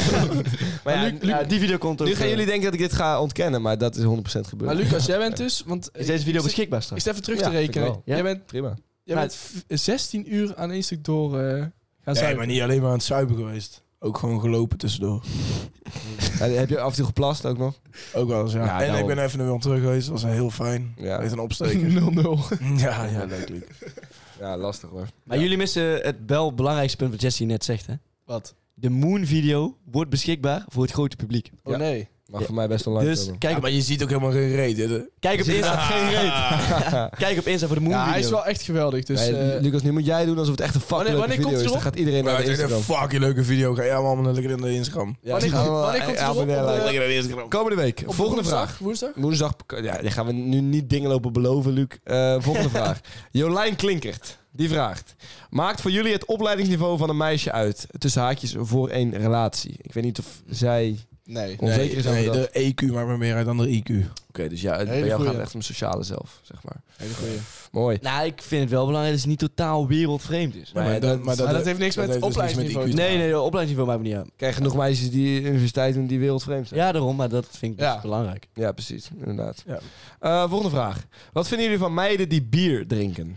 Speaker 3: maar ja,
Speaker 5: Luc-
Speaker 4: Ja, die video komt ook.
Speaker 3: nu gaan
Speaker 4: eh,
Speaker 3: jullie denken dat ik dit ga ontkennen. Maar dat is 100% gebeurd.
Speaker 5: Maar Lucas, jij bent dus... Want
Speaker 4: Is deze video
Speaker 5: ik zit-
Speaker 4: beschikbaar
Speaker 5: Ik
Speaker 4: straks?
Speaker 5: zit even terug
Speaker 3: Ja,
Speaker 5: te rekenen.
Speaker 3: vind ik
Speaker 4: wel.
Speaker 5: Jij
Speaker 4: Ja.
Speaker 5: bent,
Speaker 3: Prima.
Speaker 5: jij
Speaker 4: Maar
Speaker 5: bent v- 16 uur aan één stuk door eh, gaan
Speaker 1: Nee,
Speaker 5: zuipen.
Speaker 1: maar niet alleen maar aan het zuipen geweest. Ook gewoon gelopen tussendoor.
Speaker 3: En heb je af en toe geplast ook nog?
Speaker 1: Ook wel eens, ja.
Speaker 3: Ja,
Speaker 1: en
Speaker 3: daarom.
Speaker 1: ik ben even naar Willem terug geweest. Dat was heel fijn.
Speaker 3: Ja.
Speaker 1: Echt een
Speaker 5: [LAUGHS]
Speaker 1: opsteker.
Speaker 5: 0-0.
Speaker 1: ja, ja, leuk, leuk.
Speaker 3: Ja, lastig hoor.
Speaker 4: Maar jullie missen het wel belangrijkste punt wat Jesse net zegt, hè?
Speaker 5: Wat?
Speaker 4: De Moon-video wordt beschikbaar voor het grote publiek.
Speaker 5: Oh
Speaker 3: Ja.
Speaker 5: nee.
Speaker 3: Mag voor mij best wel lang
Speaker 4: dus
Speaker 3: komen.
Speaker 4: kijk,
Speaker 1: Ja,
Speaker 4: op,
Speaker 1: maar je ziet ook helemaal geen reet. hè. De-
Speaker 4: kijk op Insta. Geen reet. kijk op Insta voor de
Speaker 5: Ja,
Speaker 4: Moon-video.
Speaker 5: hij is wel echt geweldig. Dus,
Speaker 3: Nee,
Speaker 5: eh,
Speaker 3: Lucas, nu moet jij doen alsof het echt een fucking
Speaker 5: Wanneer- wanneer
Speaker 3: leuke
Speaker 5: komt
Speaker 3: video is.
Speaker 5: hij
Speaker 3: Dan gaat iedereen
Speaker 1: Maar
Speaker 3: naar de
Speaker 1: het is echt een
Speaker 3: Instagram.
Speaker 1: fucking leuke video. Ga jij allemaal lekker naar de Instagram.
Speaker 3: Ja,
Speaker 5: Wanneer
Speaker 3: die gaan
Speaker 5: komt-
Speaker 3: we-
Speaker 5: wanneer komt hij
Speaker 3: ja,
Speaker 5: erop?
Speaker 3: abonneren.
Speaker 5: Op de-
Speaker 1: Lekker naar de Instagram.
Speaker 3: Komende week.
Speaker 5: op
Speaker 3: volgende
Speaker 5: woensdag?
Speaker 3: vraag.
Speaker 5: Woensdag?
Speaker 3: Woensdag, ja, die gaan we nu niet dingen lopen beloven, Luc. Eh,
Speaker 5: [LAUGHS]
Speaker 3: volgende vraag. Jolijn Klinkert, die vraagt. Maakt voor jullie het opleidingsniveau van een meisje uit? Tussen haakjes voor één relatie. Ik weet niet of zij... Oké,
Speaker 5: Nee.
Speaker 3: Onzeker
Speaker 1: Nee,
Speaker 3: is over
Speaker 1: nee,
Speaker 3: dat.
Speaker 1: de EQ maakt me meer uit dan de IQ.
Speaker 3: dus ja, bij
Speaker 5: Hele
Speaker 3: jou gaat
Speaker 5: goeie.
Speaker 3: het echt om sociale zelf, zeg maar.
Speaker 5: Hele goeie.
Speaker 3: Mooi.
Speaker 4: Nou, ik vind het wel belangrijk dat het niet totaal wereldvreemd is.
Speaker 1: Ja, maar
Speaker 3: Nee,
Speaker 1: dat-
Speaker 3: dat-
Speaker 1: maar
Speaker 5: Maar dat heeft niks
Speaker 1: dat
Speaker 5: met
Speaker 1: heeft dus niks met
Speaker 5: opleidingsniveau
Speaker 1: IQ.
Speaker 5: te
Speaker 4: Nee, nee, de opleidingsniveau maakt me niet uit.
Speaker 3: Krijg genoeg meisjes die universiteit doen die wereldvreemd zijn.
Speaker 4: Ja, daarom, maar dat vind ik dus
Speaker 5: Ja.
Speaker 4: belangrijk.
Speaker 3: Ja, precies. Inderdaad.
Speaker 1: Ja.
Speaker 3: Eh, volgende vraag. Wat vinden jullie van meiden die bier drinken?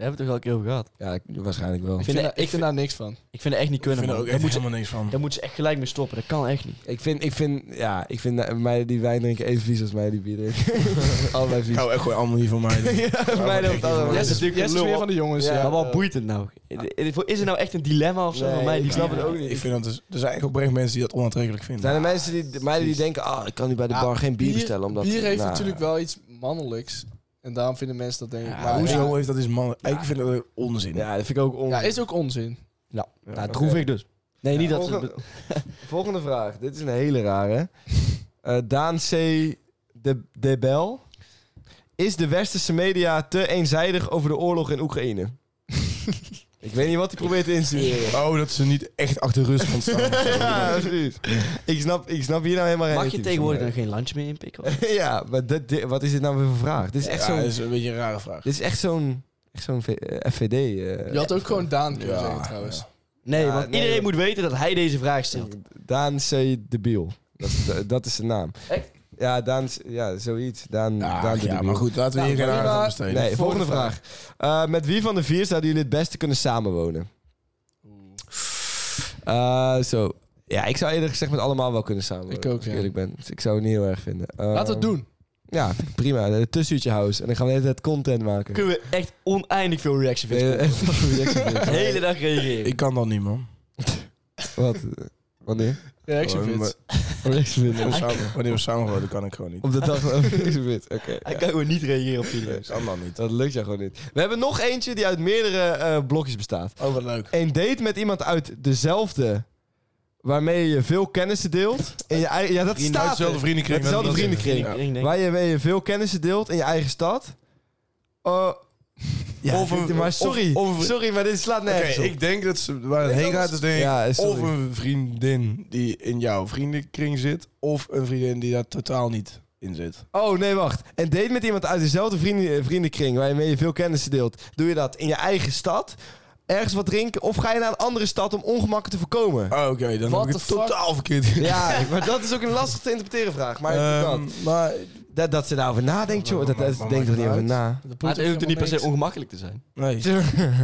Speaker 4: hebben we het toch al een keer over gehad.
Speaker 3: Ja, ik- waarschijnlijk wel.
Speaker 4: Ik
Speaker 5: Ik
Speaker 4: vind
Speaker 5: vind, daar-
Speaker 4: dat-
Speaker 5: ik vind daar niks van.
Speaker 4: Ik vind het echt niet
Speaker 1: Ik
Speaker 4: kunnen,
Speaker 1: vind er
Speaker 4: man.
Speaker 1: ook
Speaker 4: Daar
Speaker 1: echt
Speaker 4: moeten ze-
Speaker 1: helemaal niks van.
Speaker 4: daar moeten ze echt gelijk mee stoppen. Dat kan echt niet.
Speaker 3: Ik vind, ik vind, ja, ik vind eh, mij die wijn drinken even vies als mij die bier
Speaker 5: [LAUGHS]
Speaker 3: drinken. Allebei vies.
Speaker 1: Nou, echt gewoon allemaal niet van mij. [LAUGHS]
Speaker 3: ja, mij dus.
Speaker 1: echt
Speaker 3: loopt
Speaker 1: niet
Speaker 3: allemaal.
Speaker 1: van.
Speaker 5: Jess is,
Speaker 4: natuurlijk
Speaker 5: Jess
Speaker 4: een
Speaker 5: is
Speaker 4: lul,
Speaker 5: weer
Speaker 4: hoor.
Speaker 5: van de jongens.
Speaker 3: Ja,
Speaker 5: Ja,
Speaker 4: maar wat
Speaker 3: eh,
Speaker 4: boeit het nou? Is er nou echt een dilemma of zo
Speaker 3: Nee,
Speaker 4: van mij?
Speaker 3: ik
Speaker 4: Die
Speaker 3: snap het ook
Speaker 1: Ik vind dat dus, er zijn echt oprecht mensen die dat onaantrekkelijk vinden.
Speaker 3: Zijn er mensen die, de meiden die denken, ah, ik kan nu bij de
Speaker 5: Ja,
Speaker 3: bar geen bier, bestellen? Omdat,
Speaker 5: bier heeft
Speaker 3: nou,
Speaker 5: natuurlijk wel iets mannelijks. En daarom vinden mensen dat denk ik.
Speaker 1: Ja,
Speaker 5: maar
Speaker 1: hoezo
Speaker 5: Ja,
Speaker 1: heeft dat is mannen? Ik vind dat onzin.
Speaker 3: Ja, dat vind ik ook on...
Speaker 5: ja, is ook onzin.
Speaker 4: Nou, droevig dus. Nee, niet dat ze...
Speaker 3: Volgende, volgende vraag. Dit is een hele rare. Eh, Daan C. De, de Bel. Is de westerse media te eenzijdig over de oorlog in
Speaker 1: [LAUGHS]
Speaker 3: Oekraïne? ik weet niet wat hij probeert te insinueren.
Speaker 1: Oh, dat ze niet echt achter rust gaan staan.
Speaker 3: [LAUGHS] ja, precies. Ik snap, ik snap hier nou helemaal geen
Speaker 4: Mag je
Speaker 3: type
Speaker 4: tegenwoordig dan
Speaker 3: van.
Speaker 4: geen lunch meer inpikken?
Speaker 3: [LAUGHS] ja, maar dit, dit- wat is dit nou weer voor vraag? Dit is echt
Speaker 1: Ja, dat
Speaker 3: zo'n...
Speaker 1: is een beetje een rare vraag.
Speaker 3: Dit is echt zo'n... Echt zo'n V- eh, FVD... eh,
Speaker 5: Je had ook gewoon Daan kunnen
Speaker 1: Ja,
Speaker 5: zeggen trouwens.
Speaker 4: [LAUGHS] Nee,
Speaker 3: Ja,
Speaker 4: want
Speaker 3: nee,
Speaker 4: iedereen
Speaker 3: joh.
Speaker 4: moet weten dat hij deze vraag stelt.
Speaker 3: Daan C. de Biel. Dat is,
Speaker 4: [LAUGHS]
Speaker 3: de- dat is zijn naam.
Speaker 4: Echt?
Speaker 3: Ja, Daan, C- ja, zoiets. Daan,
Speaker 1: Ja,
Speaker 3: Daan de
Speaker 1: ja,
Speaker 3: Biel.
Speaker 1: maar goed, laten we hier
Speaker 5: Nou,
Speaker 1: geen
Speaker 5: maar-
Speaker 1: aandacht aan besteden.
Speaker 3: Nee, volgende vraag. Eh, met wie van de vier zouden jullie het beste kunnen samenwonen? Eh, zo. Ja, ik zou eerder gezegd met allemaal wel kunnen samenwonen.
Speaker 5: Ik ook,
Speaker 3: Als ik
Speaker 5: ja.
Speaker 3: eerlijk ben. Dus ik zou het niet heel erg vinden. Eh,
Speaker 5: Laat het doen.
Speaker 3: Ja, vind ik prima. Een tussenuurtje house. En dan gaan we de hele tijd content maken. [LAUGHS]
Speaker 4: Kunnen we echt oneindig veel reactie
Speaker 3: Nee,
Speaker 4: vinden.
Speaker 3: eh, wat voor reactie vind
Speaker 4: De
Speaker 3: je?
Speaker 4: hele dag reageren.
Speaker 1: Ik kan dat niet, man.
Speaker 3: Wat? Eh, Wanneer?
Speaker 5: Ja, ik zie
Speaker 1: Gewoon,
Speaker 5: het.
Speaker 3: Reactie
Speaker 1: Wanneer we samen- wanneer we samen worden, kan ik gewoon niet.
Speaker 3: Op de dag van Oké.
Speaker 4: Hij
Speaker 3: ja.
Speaker 4: kan gewoon niet reageren op
Speaker 3: [LAUGHS]
Speaker 4: die
Speaker 1: Ik kan dat niet.
Speaker 3: Dat lukt jou gewoon niet. We hebben nog eentje die uit meerdere eh, blokjes bestaat.
Speaker 1: Oh, wat leuk.
Speaker 3: Een date met iemand uit dezelfde... waarmee je veel kennissen deelt. In je eigen, ja, dat
Speaker 1: Vrienden uit
Speaker 3: staat er.
Speaker 1: dezelfde vriendenkring.
Speaker 3: Uit dezelfde
Speaker 1: dat is-
Speaker 3: vriendenkring.
Speaker 1: Ja.
Speaker 3: Waar je, waar je veel kennissen deelt in je eigen stad.
Speaker 1: [LAUGHS]
Speaker 3: Eh, ja,
Speaker 1: Of een-
Speaker 3: maar sorry,
Speaker 1: of- of een-
Speaker 3: sorry, maar dit slaat
Speaker 1: Oké,
Speaker 3: nergens op.
Speaker 1: ik denk dat ze, waar het heen gaat is denk ik...
Speaker 3: Ja, sorry.
Speaker 1: of een vriendin die in jouw vriendenkring zit... of een vriendin die daar totaal niet in zit.
Speaker 3: Oh, nee, wacht. Een date met iemand uit dezelfde vrienden, eh, vriendenkring... waarmee je veel kennissen deelt. Doe je dat in je eigen stad? Ergens wat drinken? Of ga je naar een andere stad om ongemakken te voorkomen?
Speaker 1: Oh, Oké, dan
Speaker 5: What
Speaker 1: heb ik
Speaker 5: the
Speaker 1: het
Speaker 5: fuck?
Speaker 1: totaal verkeerd.
Speaker 3: [LAUGHS] Ja, maar dat is ook een lastig te interpreteren vraag. Maar ik doe
Speaker 1: Ehm,
Speaker 3: dat.
Speaker 1: maar
Speaker 3: dat, dat ze daarover nadenkt, joh. Dat, dat,
Speaker 1: Maar
Speaker 3: denkt er
Speaker 1: maakt
Speaker 3: niet
Speaker 1: het
Speaker 3: over na.
Speaker 4: Maar het hoeft er niet per se ongemakkelijk te zijn.
Speaker 1: nee,
Speaker 3: [LAUGHS]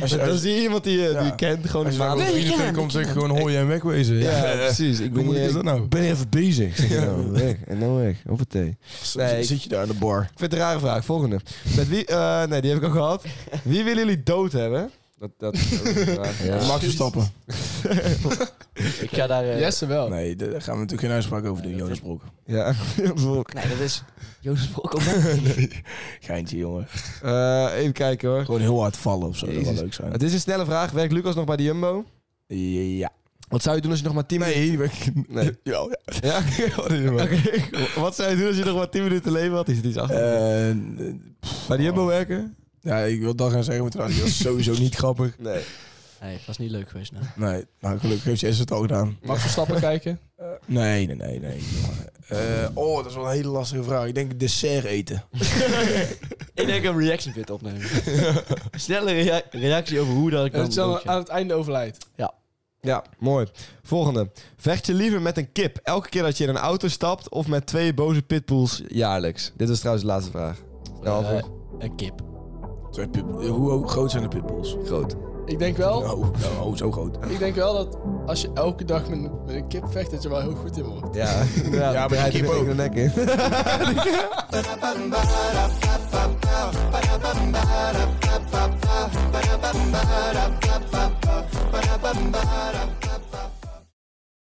Speaker 1: als je,
Speaker 3: Dan
Speaker 1: als,
Speaker 3: zie je iemand die je die
Speaker 1: Ja.
Speaker 3: je kent, gewoon
Speaker 1: als je
Speaker 3: een
Speaker 1: naar
Speaker 3: maand.
Speaker 1: een vriendenkring komt, zeg ik gewoon hoor je en wegwezen.
Speaker 3: Ja,
Speaker 1: [LAUGHS]
Speaker 3: precies. Ik
Speaker 1: Hoe
Speaker 3: ben,
Speaker 1: moet
Speaker 3: niet-
Speaker 1: ik dat nou?
Speaker 3: ik ben even bezig. [LAUGHS] Zeg je nou, weg. En nou weg. Hoppatee. Ik Nee, ik-
Speaker 1: Zit je daar in de bar?
Speaker 3: vind het een rare vraag. Volgende. Met wie... eh, nee, die heb ik al gehad. Wie willen jullie dood hebben? Dat, dat is ook een vraag.
Speaker 1: Max Verstappen.
Speaker 4: Ik ga daar... eh,
Speaker 5: Jesse
Speaker 3: Oh.
Speaker 5: wel.
Speaker 1: Nee, daar gaan we natuurlijk geen uitspraak over doen, Jonas
Speaker 3: [LAUGHS]
Speaker 1: Brok.
Speaker 3: Ja.
Speaker 1: [LAUGHS]
Speaker 4: Nee, dat is... Jozef Brok [LAUGHS] op
Speaker 1: Geintje, jongen.
Speaker 3: Eh, even kijken hoor.
Speaker 1: Gewoon heel hard vallen of zo, dat zou
Speaker 3: Jezus.
Speaker 1: wel leuk zijn.
Speaker 3: Het is een snelle vraag. Werkt Lucas nog bij de Jumbo?
Speaker 1: Ja.
Speaker 3: Wat zou je doen als je nog maar 10 minuten...
Speaker 1: [LAUGHS] Nee, ik-
Speaker 3: Nee.
Speaker 1: Ja, ja.
Speaker 3: [LAUGHS] Ja? Oké. Wat zou je doen als je nog maar 10 minuten leven had? Is het iets achter?
Speaker 1: Eh,
Speaker 3: bij de Jumbo werken?
Speaker 1: ja, ik wil dat gaan zeggen, maar toen dacht ik, dat is sowieso niet grappig.
Speaker 3: Nee.
Speaker 4: Nee, dat was niet leuk geweest nou.
Speaker 1: Nee, nou gelukkig heeft Jesse het al gedaan.
Speaker 5: Mag Verstappen kijken?
Speaker 1: Nee, nee, nee, nee. Eh, oh, dat is wel een hele lastige vraag. Ik denk dessert eten.
Speaker 4: Ik denk een reaction fit [LAUGHS] opnemen. Snelle rea- reactie over hoe dat ik
Speaker 5: En
Speaker 4: dan...
Speaker 5: dat je dan aan
Speaker 4: doodga.
Speaker 5: het einde overlijdt.
Speaker 3: Ja, mooi. Volgende. Vecht je liever met een kip elke keer dat je in een auto stapt of met twee boze pitbulls jaarlijks? Dit was trouwens de laatste vraag. Ja,
Speaker 4: Eh,
Speaker 3: of-
Speaker 4: Een kip.
Speaker 1: Twee pit- Hoe groot zijn de pitbulls?
Speaker 3: groot.
Speaker 5: Ik denk wel,
Speaker 1: Nou, nou, oh, zo groot.
Speaker 5: ik denk wel dat als je elke dag met, met een kip vecht, dat je wel heel goed in wordt.
Speaker 3: [LAUGHS] Ja, ja,
Speaker 1: maar die
Speaker 3: draait
Speaker 1: kip
Speaker 3: er
Speaker 1: ook.
Speaker 3: de nek in.